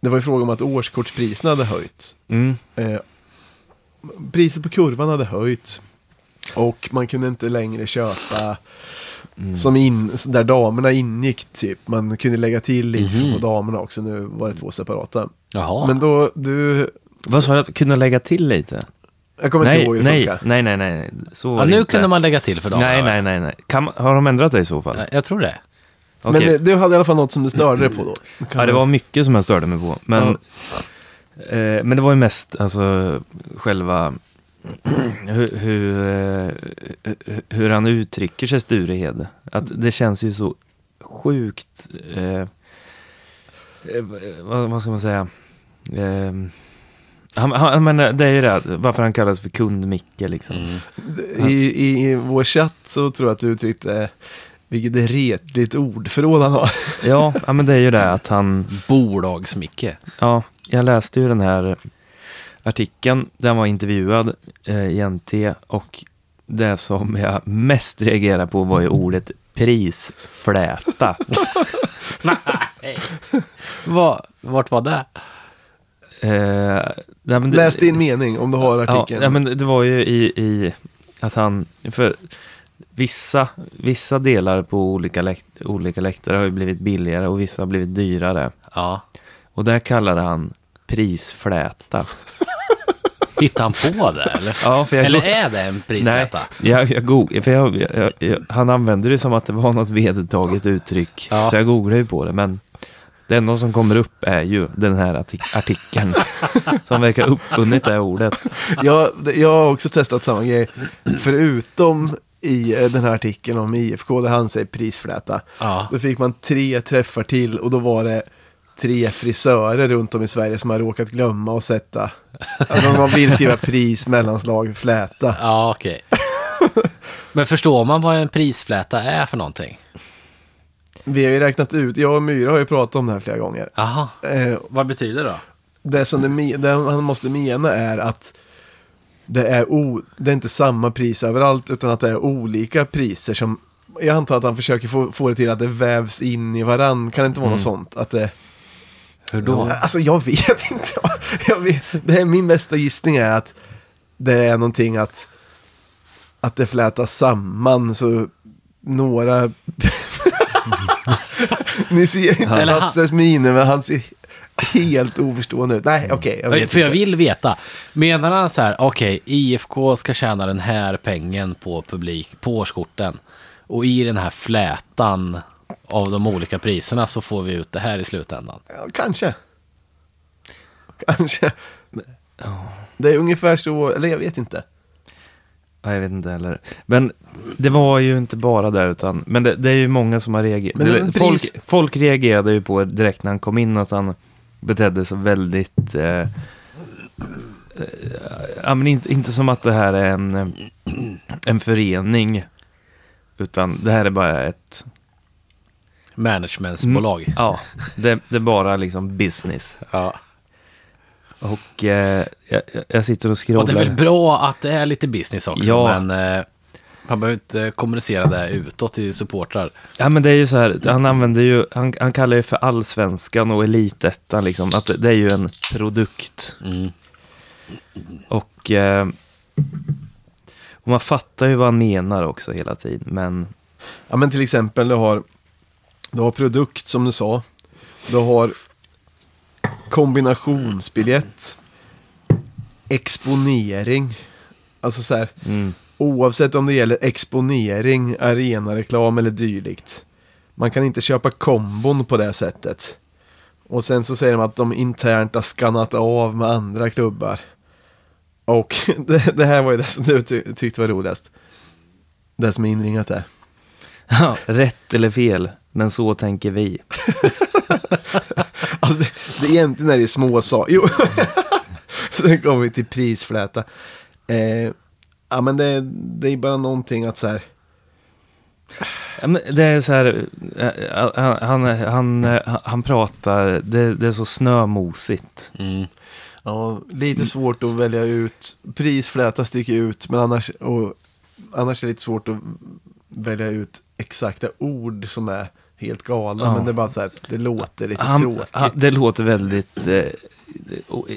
A: Det var ju fråga om att årskortspriserna hade höjts.
C: Mm.
A: Eh, priset på kurvan hade höjts. Och man kunde inte längre köpa
C: Mm.
A: som in, där damerna ingick typ. Man kunde lägga till lite
D: Mhm.
A: på damerna också. Nu var det två separata.
C: Ah.
D: Jaha.
A: Men då, du...
C: Vad sa du? Att kunna lägga till lite?
A: Jag kommer inte
C: Nej,
A: ihåg hur det
C: nej,
A: funkar.
C: nej, nej, nej. Så
D: ja,
C: var det
D: nu
C: inte.
D: kunde man lägga till för dagarna.
C: Nej, nej, nej. nej. Kan man, har de ändrat det i så fall?
D: nej. Jag tror det.
C: Okej.
A: Men eh, du hade i alla fall något som du störde dig på då.
C: Ja, det var mycket som jag störde mig på. Men, eh, men det var ju mest alltså, själva hur, hur, eh, hur- hur han uttrycker sig, Sturehed. Att det känns ju så sjukt, eh, eh, vad, vad ska man säga? Eh, han, han, men det är ju det, varför han kallas för kund-Micke liksom.
D: Mm.
A: I, i, I vår chatt så tror jag att du uttryckte eh, vilket retligt ordförråd han har.
C: Ja, ja, men det är ju det att han,
D: Bolagsmicke.
C: Ja, jag läste ju den här artikeln. Den var intervjuad eh, i NT och det som jag mest reagerade på var ju ordet
A: *laughs*
C: prisfläta.
D: Va, vart var det?
C: eh, nej, men det-
A: Läs din mening om du har artikeln.
C: Ja, ja, men det var ju i, i att han, för vissa, vissa delar på olika, läkt, olika läktare har ju blivit billigare och vissa har blivit dyrare.
D: Ja.
C: Och där kallade han prisfläta.
D: Hittade han på det eller?
C: Ja, för
D: Eller är det en prisrätta?
C: Nej, jag, jag goog- för jag, jag, jag, han använde det som att det var något vedertaget uttryck.
D: Ja.
C: Så jag googlade ju på det, men det enda som kommer upp är ju den här
D: *laughs*
C: artik- artikeln. som verkar ha uppfunnit det här ordet.
A: jag, det- jag har också testat samma grej. Förutom i eh, den här artikeln om IFK där han säger prisfläta.
D: Ja.
A: Då fick man tre träffar till och då var det tre frisörer runt om i Sverige som har råkat glömma att sätta. Alltså, man vill skriva pris, mellanslag, fläta.
D: Ja, *laughs* okej. Men förstår man vad en prisfläta är för någonting?
A: Vi har ju räknat ut, jag och Myra har ju pratat om det här flera gånger.
D: Jaha.
A: Eh,
D: Vad betyder det då?
A: det som det, me- det han måste mena är att det är, o, det är inte samma pris överallt utan att det är olika priser som jag antar att han försöker få, få det till att det vävs in i varann. Kan det inte vara
D: Mm.
A: något sånt? Att det,
D: Hur då?
A: Alltså jag vet *laughs* inte. Jag vet, det är min bästa gissning är att det är någonting att, att det flätas samman så några... *laughs* Ni ser inte
D: Eller han-
A: Lasses miner men han ser helt oförstående ut. Nej, okej. jag vet
D: För jag
A: inte.
D: vill veta. Menar han så här, okej, IFK ska tjäna den här pengen på publik, på årskorten. Och i den här flätan av de olika priserna så får vi ut det här i slutändan.
A: Ja, kanske. Kanske. Det är ungefär så, eller jag vet inte.
C: Ja, jag vet inte heller. Men det var ju inte bara det, utan, men det, det är ju många som har
A: Men det är
C: reagerat.
A: en
C: Folk,
A: pris-
C: folk reagerade ju på direkt när han kom in att han betedde sig väldigt... Eh, eh, ja, men inte, inte som att det här är en, eh, en förening, utan det här är bara ett...
D: Managementsbolag.
C: Ja, det, det är bara liksom business.
D: Mm. Ja.
C: Och eh, jag, jag- jag sitter och
D: Och det är väl
C: scrollar.
D: bra att det är lite business också,
C: Ja.
D: men eh, man behöver inte kommunicera det utåt till supportrar.
C: Ja men det är ju så här, han använder ju, han, han kallar ju för allsvenskan och elitettan liksom, att det, det är ju en produkt.
D: Mm.
C: Och, eh, och man fattar ju vad han menar också hela tiden, men *laughs*
A: Ja men till exempel du har, du har produkt som du sa. Du har kombinationsbiljett. Exponering. Alltså så här,
C: mm,
A: oavsett om det gäller exponering, arenareklam eller dylikt. Man kan inte köpa kombon på det sättet. Och sen så säger de att de internt har skannat av med andra klubbar. Och *laughs* det, det här var ju det som du ty- tyckte var roligast. Det som är inringat där.
C: rätt eller fel, men så tänker vi.
A: Alltså det, det är egentligen är det små saker. *laughs* Jo. Sen kommer vi till prisfläta. Eh, ja men det, det är bara någonting att så här.
C: Ja, men det är så här, eh, han, han, han, eh, han pratar, det, det är så snömosigt.
D: Mm.
A: Ja, lite svårt att välja ut. Prisfläta sticker ut men annars, och, annars är det lite svårt att välja ut exakta ord som är helt galna.
C: Ja.
A: Men det är bara så här, det låter lite
C: Han,
A: tråkigt.
C: han, det låter väldigt... Eh, *laughs* och-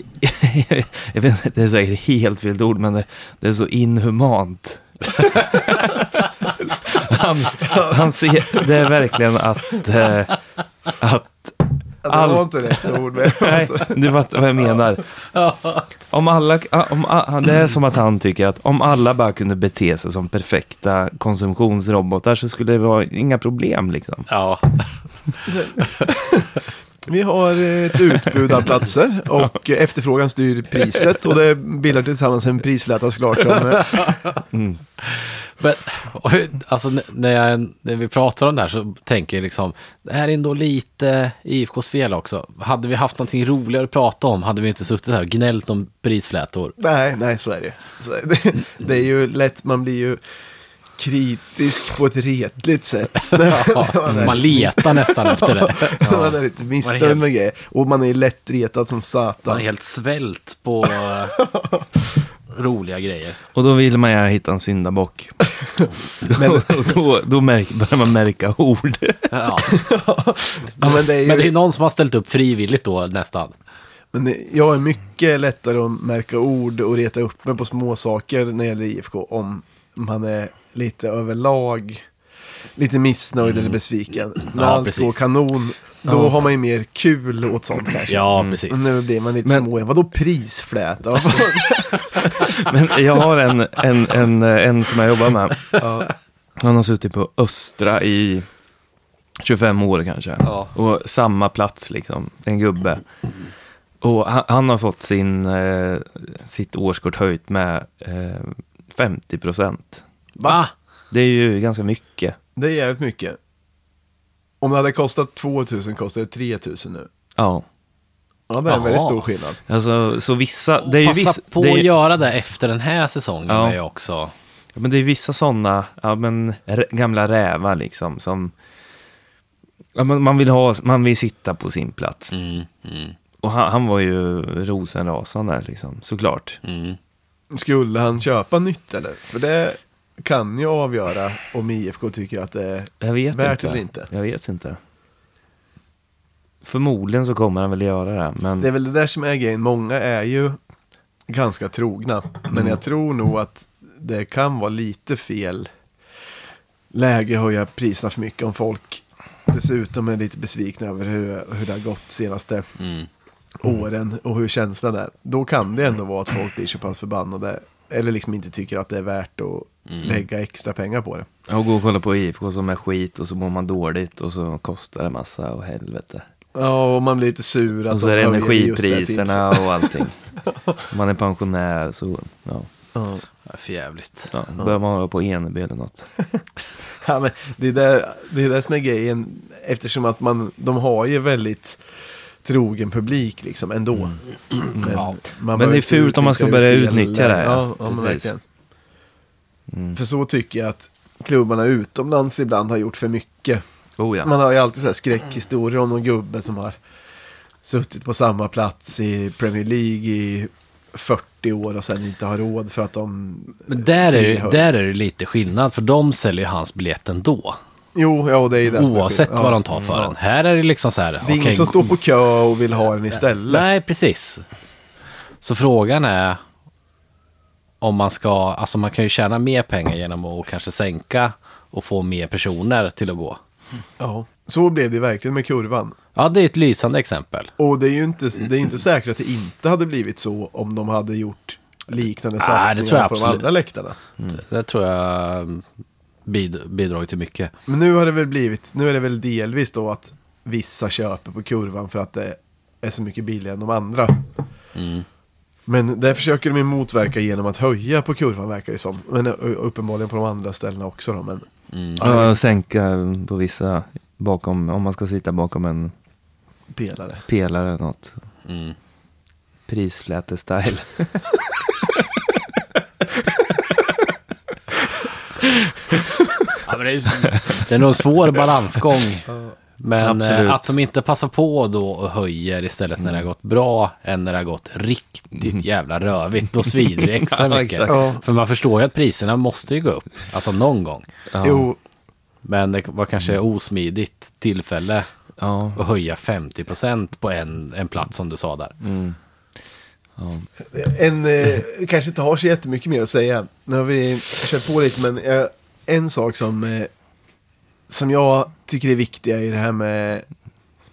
C: jag vet, inte, det är säkert helt fel ord, men det, det är så inhumant. *laughs* han, han ser, det är verkligen att... Eh, att
A: Ja, det var
C: allt-
A: inte rätt ord. Men, *laughs*
C: nej, du fattar vad jag menar. Om alla, om, a- det är som att han tycker att om alla bara kunde bete sig som perfekta konsumtionsrobotar så skulle det vara inga problem liksom.
D: Ja,
A: Vi har ett utbud av platser och efterfrågan styr priset och det bildar tillsammans en prisfläta såklart. Som,
D: *laughs* men och, hur- alltså, n- när, jag, när vi pratar om det här så tänker jag liksom, det här är ändå lite IFKs fel också. Hade vi haft någonting roligare att prata om hade vi inte suttit här och gnällt om
A: *laughs*
D: prisflätor.
A: nej, nej, så är det ju. Så är det, det är ju lätt, man blir ju kritisk på ett retligt sätt.
D: Ja, man letar nästan efter det.
A: *laughs* man är lite missnöjd med grejer. Och man är lättretad som
D: Man
A: satan.
D: är helt svält på eh, roliga grejer.
C: Och då vill man gärna hitta
D: *laughs*
C: en syndabock.
A: Men-
C: då då, då märk, börjar man märka ord.
D: Ja.
A: Ja, men *laughs* det är ju,
D: Men det är någon som har ställt upp frivilligt då nästan.
A: men jag är mycket lättare att märka ord och reta upp mig på små saker när det gäller IFK om man är lite överlag lite missnöjd eller besviken. När
D: Mm. Ja,
A: allt
D: precis.
A: går kanon, då har man ju mer kul åt sånt kanske. Mm.
D: Ja, precis.
A: Och nu blir man lite
C: Men-
A: små. Vadå prisfläta?
D: *laughs*
A: Vad fan?
C: Men jag har en, en, en, en som jag jobbar med. Han har suttit på Östra i 25 år kanske.
D: Ja.
C: Och samma plats liksom, en gubbe. Och han, han har fått sin, eh, sitt årskort höjt med eh, 50 procent.
D: Va?
C: Det är ju ganska mycket.
A: det är jävligt mycket. Om det hade kostat 2000 kostar det 3000 nu.
C: Ja.
A: Ja, det är en
D: Jaha.
A: väldigt stor skillnad.
C: Alltså, så vissa... Det är ju
D: Passa
C: vissa,
D: på
C: det är
D: att
C: ju,
D: göra det efter den här säsongen
C: Ja.
D: är jag också.
C: Ja, men det är vissa sådana, ja men r- gamla rävar liksom som... Ja, men man, vill ha, man vill sitta på sin plats.
D: Mm, mm,
C: Och han, han var ju rosenrasande liksom, såklart.
D: mm.
A: Skulle han köpa nytt eller? För det kan ju avgöra om IFK tycker att det är...
C: Jag vet
A: Värt
C: inte.
A: eller inte?
C: Jag vet inte. Förmodligen så kommer han väl göra det. Men
A: Det är väl det där som är grejen. Många är ju ganska trogna. Men jag tror nog att det kan vara lite fel läge att höja priserna för mycket om folk dessutom är lite besvikna över hur, hur det har gått senaste
D: Mm.
A: åren och hur känslan är. Då kan det ändå vara att folk blir så pass förbannade eller liksom inte tycker att det är värt att lägga extra pengar på det.
C: att gå och kolla på IFK som är skit och så mår man dåligt och så kostar det massa och helvete.
A: Ja, och man blir lite sur att
C: Och så är det
A: de höjer just det här
C: energipriserna
A: *laughs*
C: och allting. Om man är pensionär så ja,
A: tillfället.
D: Ja, För jävligt.
C: ja, börjar man hålla på Eneby eller något.
A: *laughs* Ja, men det, är där, det är där som är grejen, eftersom att man, de har ju väldigt trogen publik liksom ändå. *clears throat* Men,
D: Ja.
A: man
C: Mm. Men det är
A: behöver inte
C: fult om man ska
A: utnyttja
C: börja
A: fel-
C: utnyttja det här,
A: Ja,
C: ja.
A: ja men
C: Precis.
A: verkligen.
C: Mm.
A: För så tycker jag att klubbarna utomlands ibland har gjort för mycket.
C: Oh ja.
A: Man har ju alltid så här skräckhistorier om någon gubbe som har suttit på samma plats i Premier League i 40 år och sen inte har råd för att de...
D: Men där är,
A: tillhör-
D: ju- där är det lite skillnad, för de säljer ju hans biljett ändå.
A: Jo, ja, och det är ju det som är
D: Oavsett
A: skillnaden.
D: vad
A: Ja.
D: de tar för den. Här är det liksom så här.
A: Det är ingen som står på kö och vill ha den istället.
D: Nej, precis. Så frågan är om man ska, alltså man kan ju tjäna mer pengar genom att kanske sänka och få mer personer till att gå.
A: Ja. Så blev det verkligen med kurvan.
D: Ja, det är ett lysande exempel.
A: Och det är ju inte, det är inte säkert att det inte hade blivit så om de hade gjort liknande
D: Nej, Ah, det
A: satsningar
D: tror jag
A: på de
D: absolut.
A: andra läktarna.
D: Det tror jag mm, bid- bidragit till mycket.
A: Men nu har det väl blivit, nu är det väl delvis då att vissa köper på kurvan för att det är så mycket billigare än de andra.
D: Mm.
A: Men det försöker de ju motverka genom att höja på kurvan verkar det som. Men ö, uppenbarligen på de andra ställena också då. Men
C: Ja, och sänka på vissa bakom, om man ska sitta bakom en
A: pelare.
C: pelare eller något.
A: Mm.
C: Prisfläte-style.
D: Ja, men det, är, det är nog en svår balansgång. Men eh,
C: Absolut.
D: att de inte passar på då och höjer istället när det har gått bra än när det har gått riktigt jävla rövigt. Då svider
C: *laughs*
D: det extra
C: Mm. Ja,
D: mycket.
C: exakt.
A: Ja.
D: För man förstår ju att priserna måste ju gå upp, alltså någon gång.
C: Ja.
A: Jo,
D: Men det var kanske
C: Mm.
D: osmidigt tillfälle
A: *laughs*
C: Ja.
D: att höja 50% på en, en plats som du sa där.
C: Mm.
A: En, eh, kanske inte har så jättemycket mer att säga. Nu har vi kört på lite, men eh, en sak som, eh, som jag tycker är viktiga i det här med...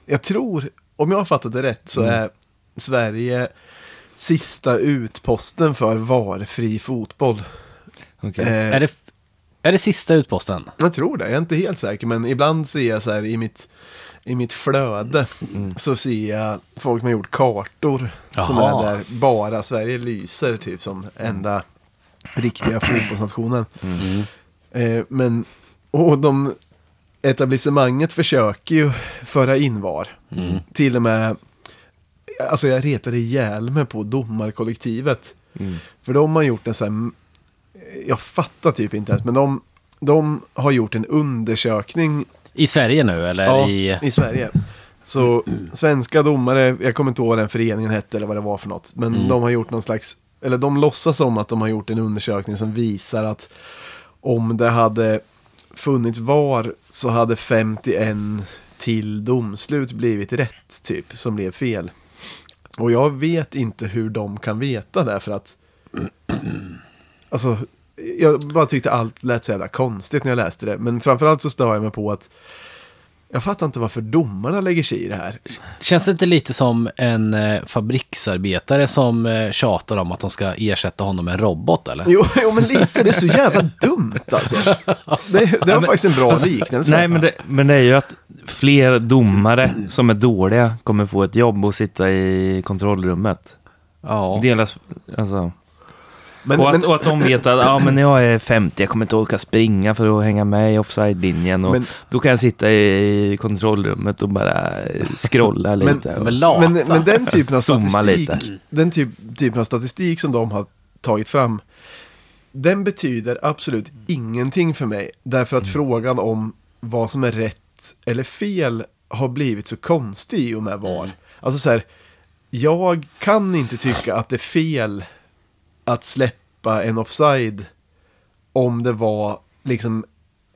A: Jag tror, om jag har fattat det rätt, så är Sverige sista utposten för varfri fotboll.
C: Okej.
A: Eh,
D: Är, det, är det sista utposten?
A: jag tror det, jag är inte helt säker, men ibland ser jag så här i mitt, i mitt flöde så ser jag folk som har gjort kartor som är
D: Jaha.
A: där bara Sverige lyser typ som enda riktiga fotbollsnationen. Eh, men, och de, etablissemanget försöker ju föra in VAR. Till och med, alltså jag retade ihjäl mig på domarkollektivet. För de har gjort en så här, jag fattar typ inte ens, men de, de har gjort en undersökning
D: I Sverige nu eller i...
A: i Sverige. Så svenska domare, jag kommer inte ihåg vad den föreningen hette eller vad det var för något, men
D: Mm.
A: de har gjort någon slags, eller de låtsas som att de har gjort en undersökning som visar att om det hade funnits VAR så hade 51 till domslut blivit rätt typ, som blev fel. Och jag vet inte hur de kan veta det för att, *clears throat* alltså, jag bara tyckte allt lät så jävla konstigt när jag läste det, men framförallt så stör jag mig på att jag fattar inte varför domarna lägger sig i det här.
D: Känns det inte lite som en eh, fabriksarbetare som eh, tjatar om att de ska ersätta honom med en robot eller?
A: Jo, *laughs* jo men lite, det är så jävla dumt alltså. Det, det var faktiskt en bra liknelse.
C: Nej, men det, men det är ju att fler domare som är dåliga kommer få ett jobb och sitta i kontrollrummet.
D: Ja.
C: Delas, alltså.
A: men,
C: och, att,
A: men,
C: och att de vet att ja, men jag är 50, jag kommer inte orka springa för att hänga med i offside-linjen. Och
A: Men-
C: då kan jag sitta i kontrollrummet och bara scrolla lite.
D: De
C: och,
D: är lata.
A: men, men den typen av
C: *laughs* Zooma
A: statistik,
C: lite.
A: den typ, typen av statistik som de har tagit fram, den betyder absolut ingenting för mig. Därför
C: Mm.
A: att frågan om vad som är rätt eller fel har blivit så konstig i och med
C: Mm.
A: VAR. Alltså så här, jag kan inte tycka att det är fel att släppa släppa en offside om det var liksom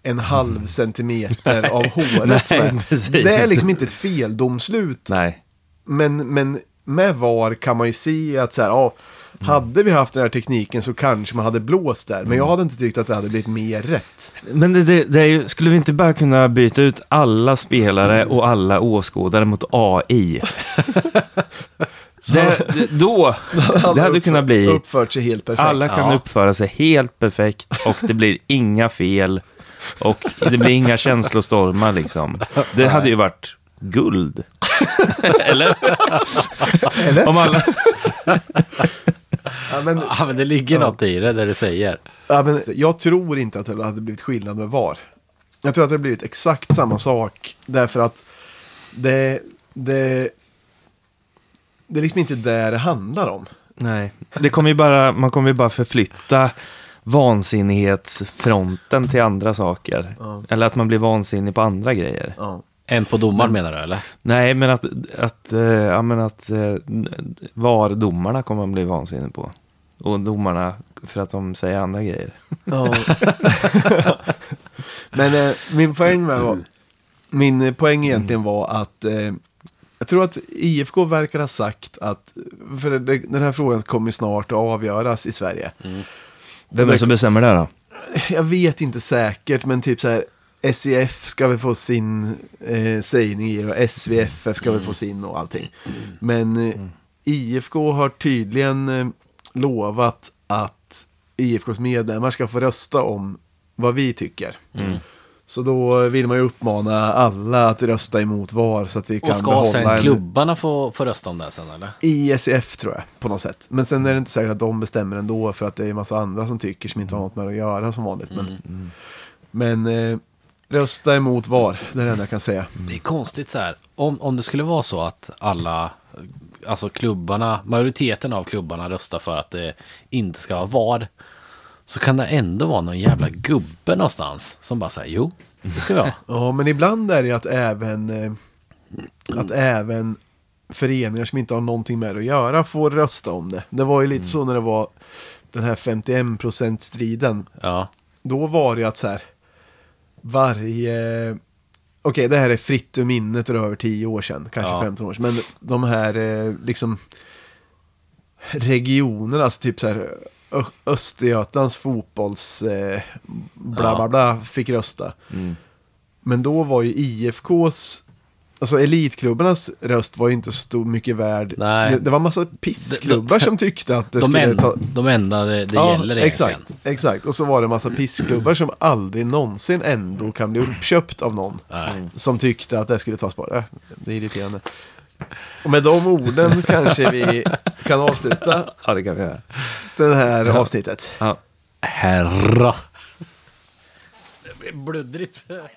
A: en halv
C: *laughs*
A: centimeter av håret som
C: Mm. Nej,
A: är-
C: precis.
A: Det är liksom inte ett feldomslut.
C: Nej,
A: Men, men med VAR kan man ju se att så här, ja,
C: Mm.
A: hade vi haft den här tekniken så kanske man hade blåst där.
C: Mm.
A: Men jag hade inte tyckt att det hade blivit mer rätt.
C: men det, det, det är ju, skulle vi inte bara kunna byta ut alla spelare och alla åskådare mot
A: *laughs*
C: AI? det, det, då, det hade kunnat bli...
A: Uppfört sig helt perfekt.
C: Alla kan
D: Ja.
C: uppföra sig helt perfekt och det blir inga fel och det blir inga känslostormar liksom. Det hade ju varit
A: *laughs*
C: guld. Eller?
A: Eller?
C: Om alla...
A: Ja, men,
D: Ja, men det ligger något i det, där du säger.
A: ja, men jag tror inte att det hade blivit skillnad med VAR. Jag tror att det hade blivit exakt samma sak. Därför att det, det, det är liksom inte det det handlar om.
C: Nej, det kommer ju bara, man kommer ju bara förflytta vansinnighetsfronten till andra saker.
A: Ja.
C: Eller att man blir vansinnig på andra grejer.
A: Ja.
D: En på domaren menar du, eller?
C: Nej, men att, att, eh, ja, men att eh, VAR-domarna kommer man bli vansinnig på. Och domarna för att de säger andra grejer.
A: Men eh, min poäng med var, min eh, poäng egentligen var att eh, jag tror att IFK verkar ha sagt att, för det- det, den här frågan kommer ju snart att avgöras i Sverige.
C: Vem är det som bestämmer det då?
A: Jag vet inte säkert, men typ så här SEF ska väl få sin eh, sägning i det och SVFF ska
D: Mm.
A: väl få sin och allting. Men eh, IFK har tydligen eh, lovat att IFKs medlemmar ska få rösta om vad vi tycker.
D: Mm.
A: Så då vill man ju uppmana alla att rösta emot VAR så att vi kan
D: Och ska
A: behålla
D: sen
A: en-
D: klubbarna få, få rösta om det sen, eller?
A: i SEF tror jag, på något sätt. Men sen är det inte säkert att de bestämmer ändå, för att det är en massa andra som tycker som inte har något med det att göra som vanligt. Men, men eh, rösta emot VAR, det är det enda jag kan säga.
D: Mm. Det är konstigt så här, om, om det skulle vara så att alla, alltså klubbarna, majoriteten av klubbarna röstar för att det inte ska vara VAR, så kan det ändå vara någon jävla gubbe någonstans som bara säger jo, det ska vi *laughs* ha.
A: Ja, men ibland är det ju att även, eh, att även föreningar som inte har någonting med det att göra får rösta om det. Det var ju lite så när det var den här 51%-striden.
D: Ja,
A: då var det ju att så här, varje... Okej, det här är fritt ur minnet och det är över 10 år sedan, kanske
D: Ja.
A: 15 år sedan. Men de här eh, liksom regionerna, alltså typ så här Ö- Östergötlands fotbolls eh, bla
D: Ja.
A: bla
D: Mm.
A: bla fick rösta. Men då var ju IFKs, alltså elitklubbarnas röst var ju inte så stor, mycket värd.
D: Nej.
A: Det, det var massa pissklubbar som tyckte att det
D: de,
A: skulle
D: en,
A: ta...
D: de enda det, det Mm. gäller egentligen.
A: Exakt, exakt, och så var det en massa pissklubbar som aldrig någonsin ändå kan bli uppköpt av någon.
D: Nej.
A: Som tyckte att det skulle tas bort. Äh, Det är irriterande. Och med de orden kanske vi kan avsluta
C: Ja, det kan vi göra.
A: det här avsnittet.
C: Ja.
D: Herra. Det blir bluddrigt.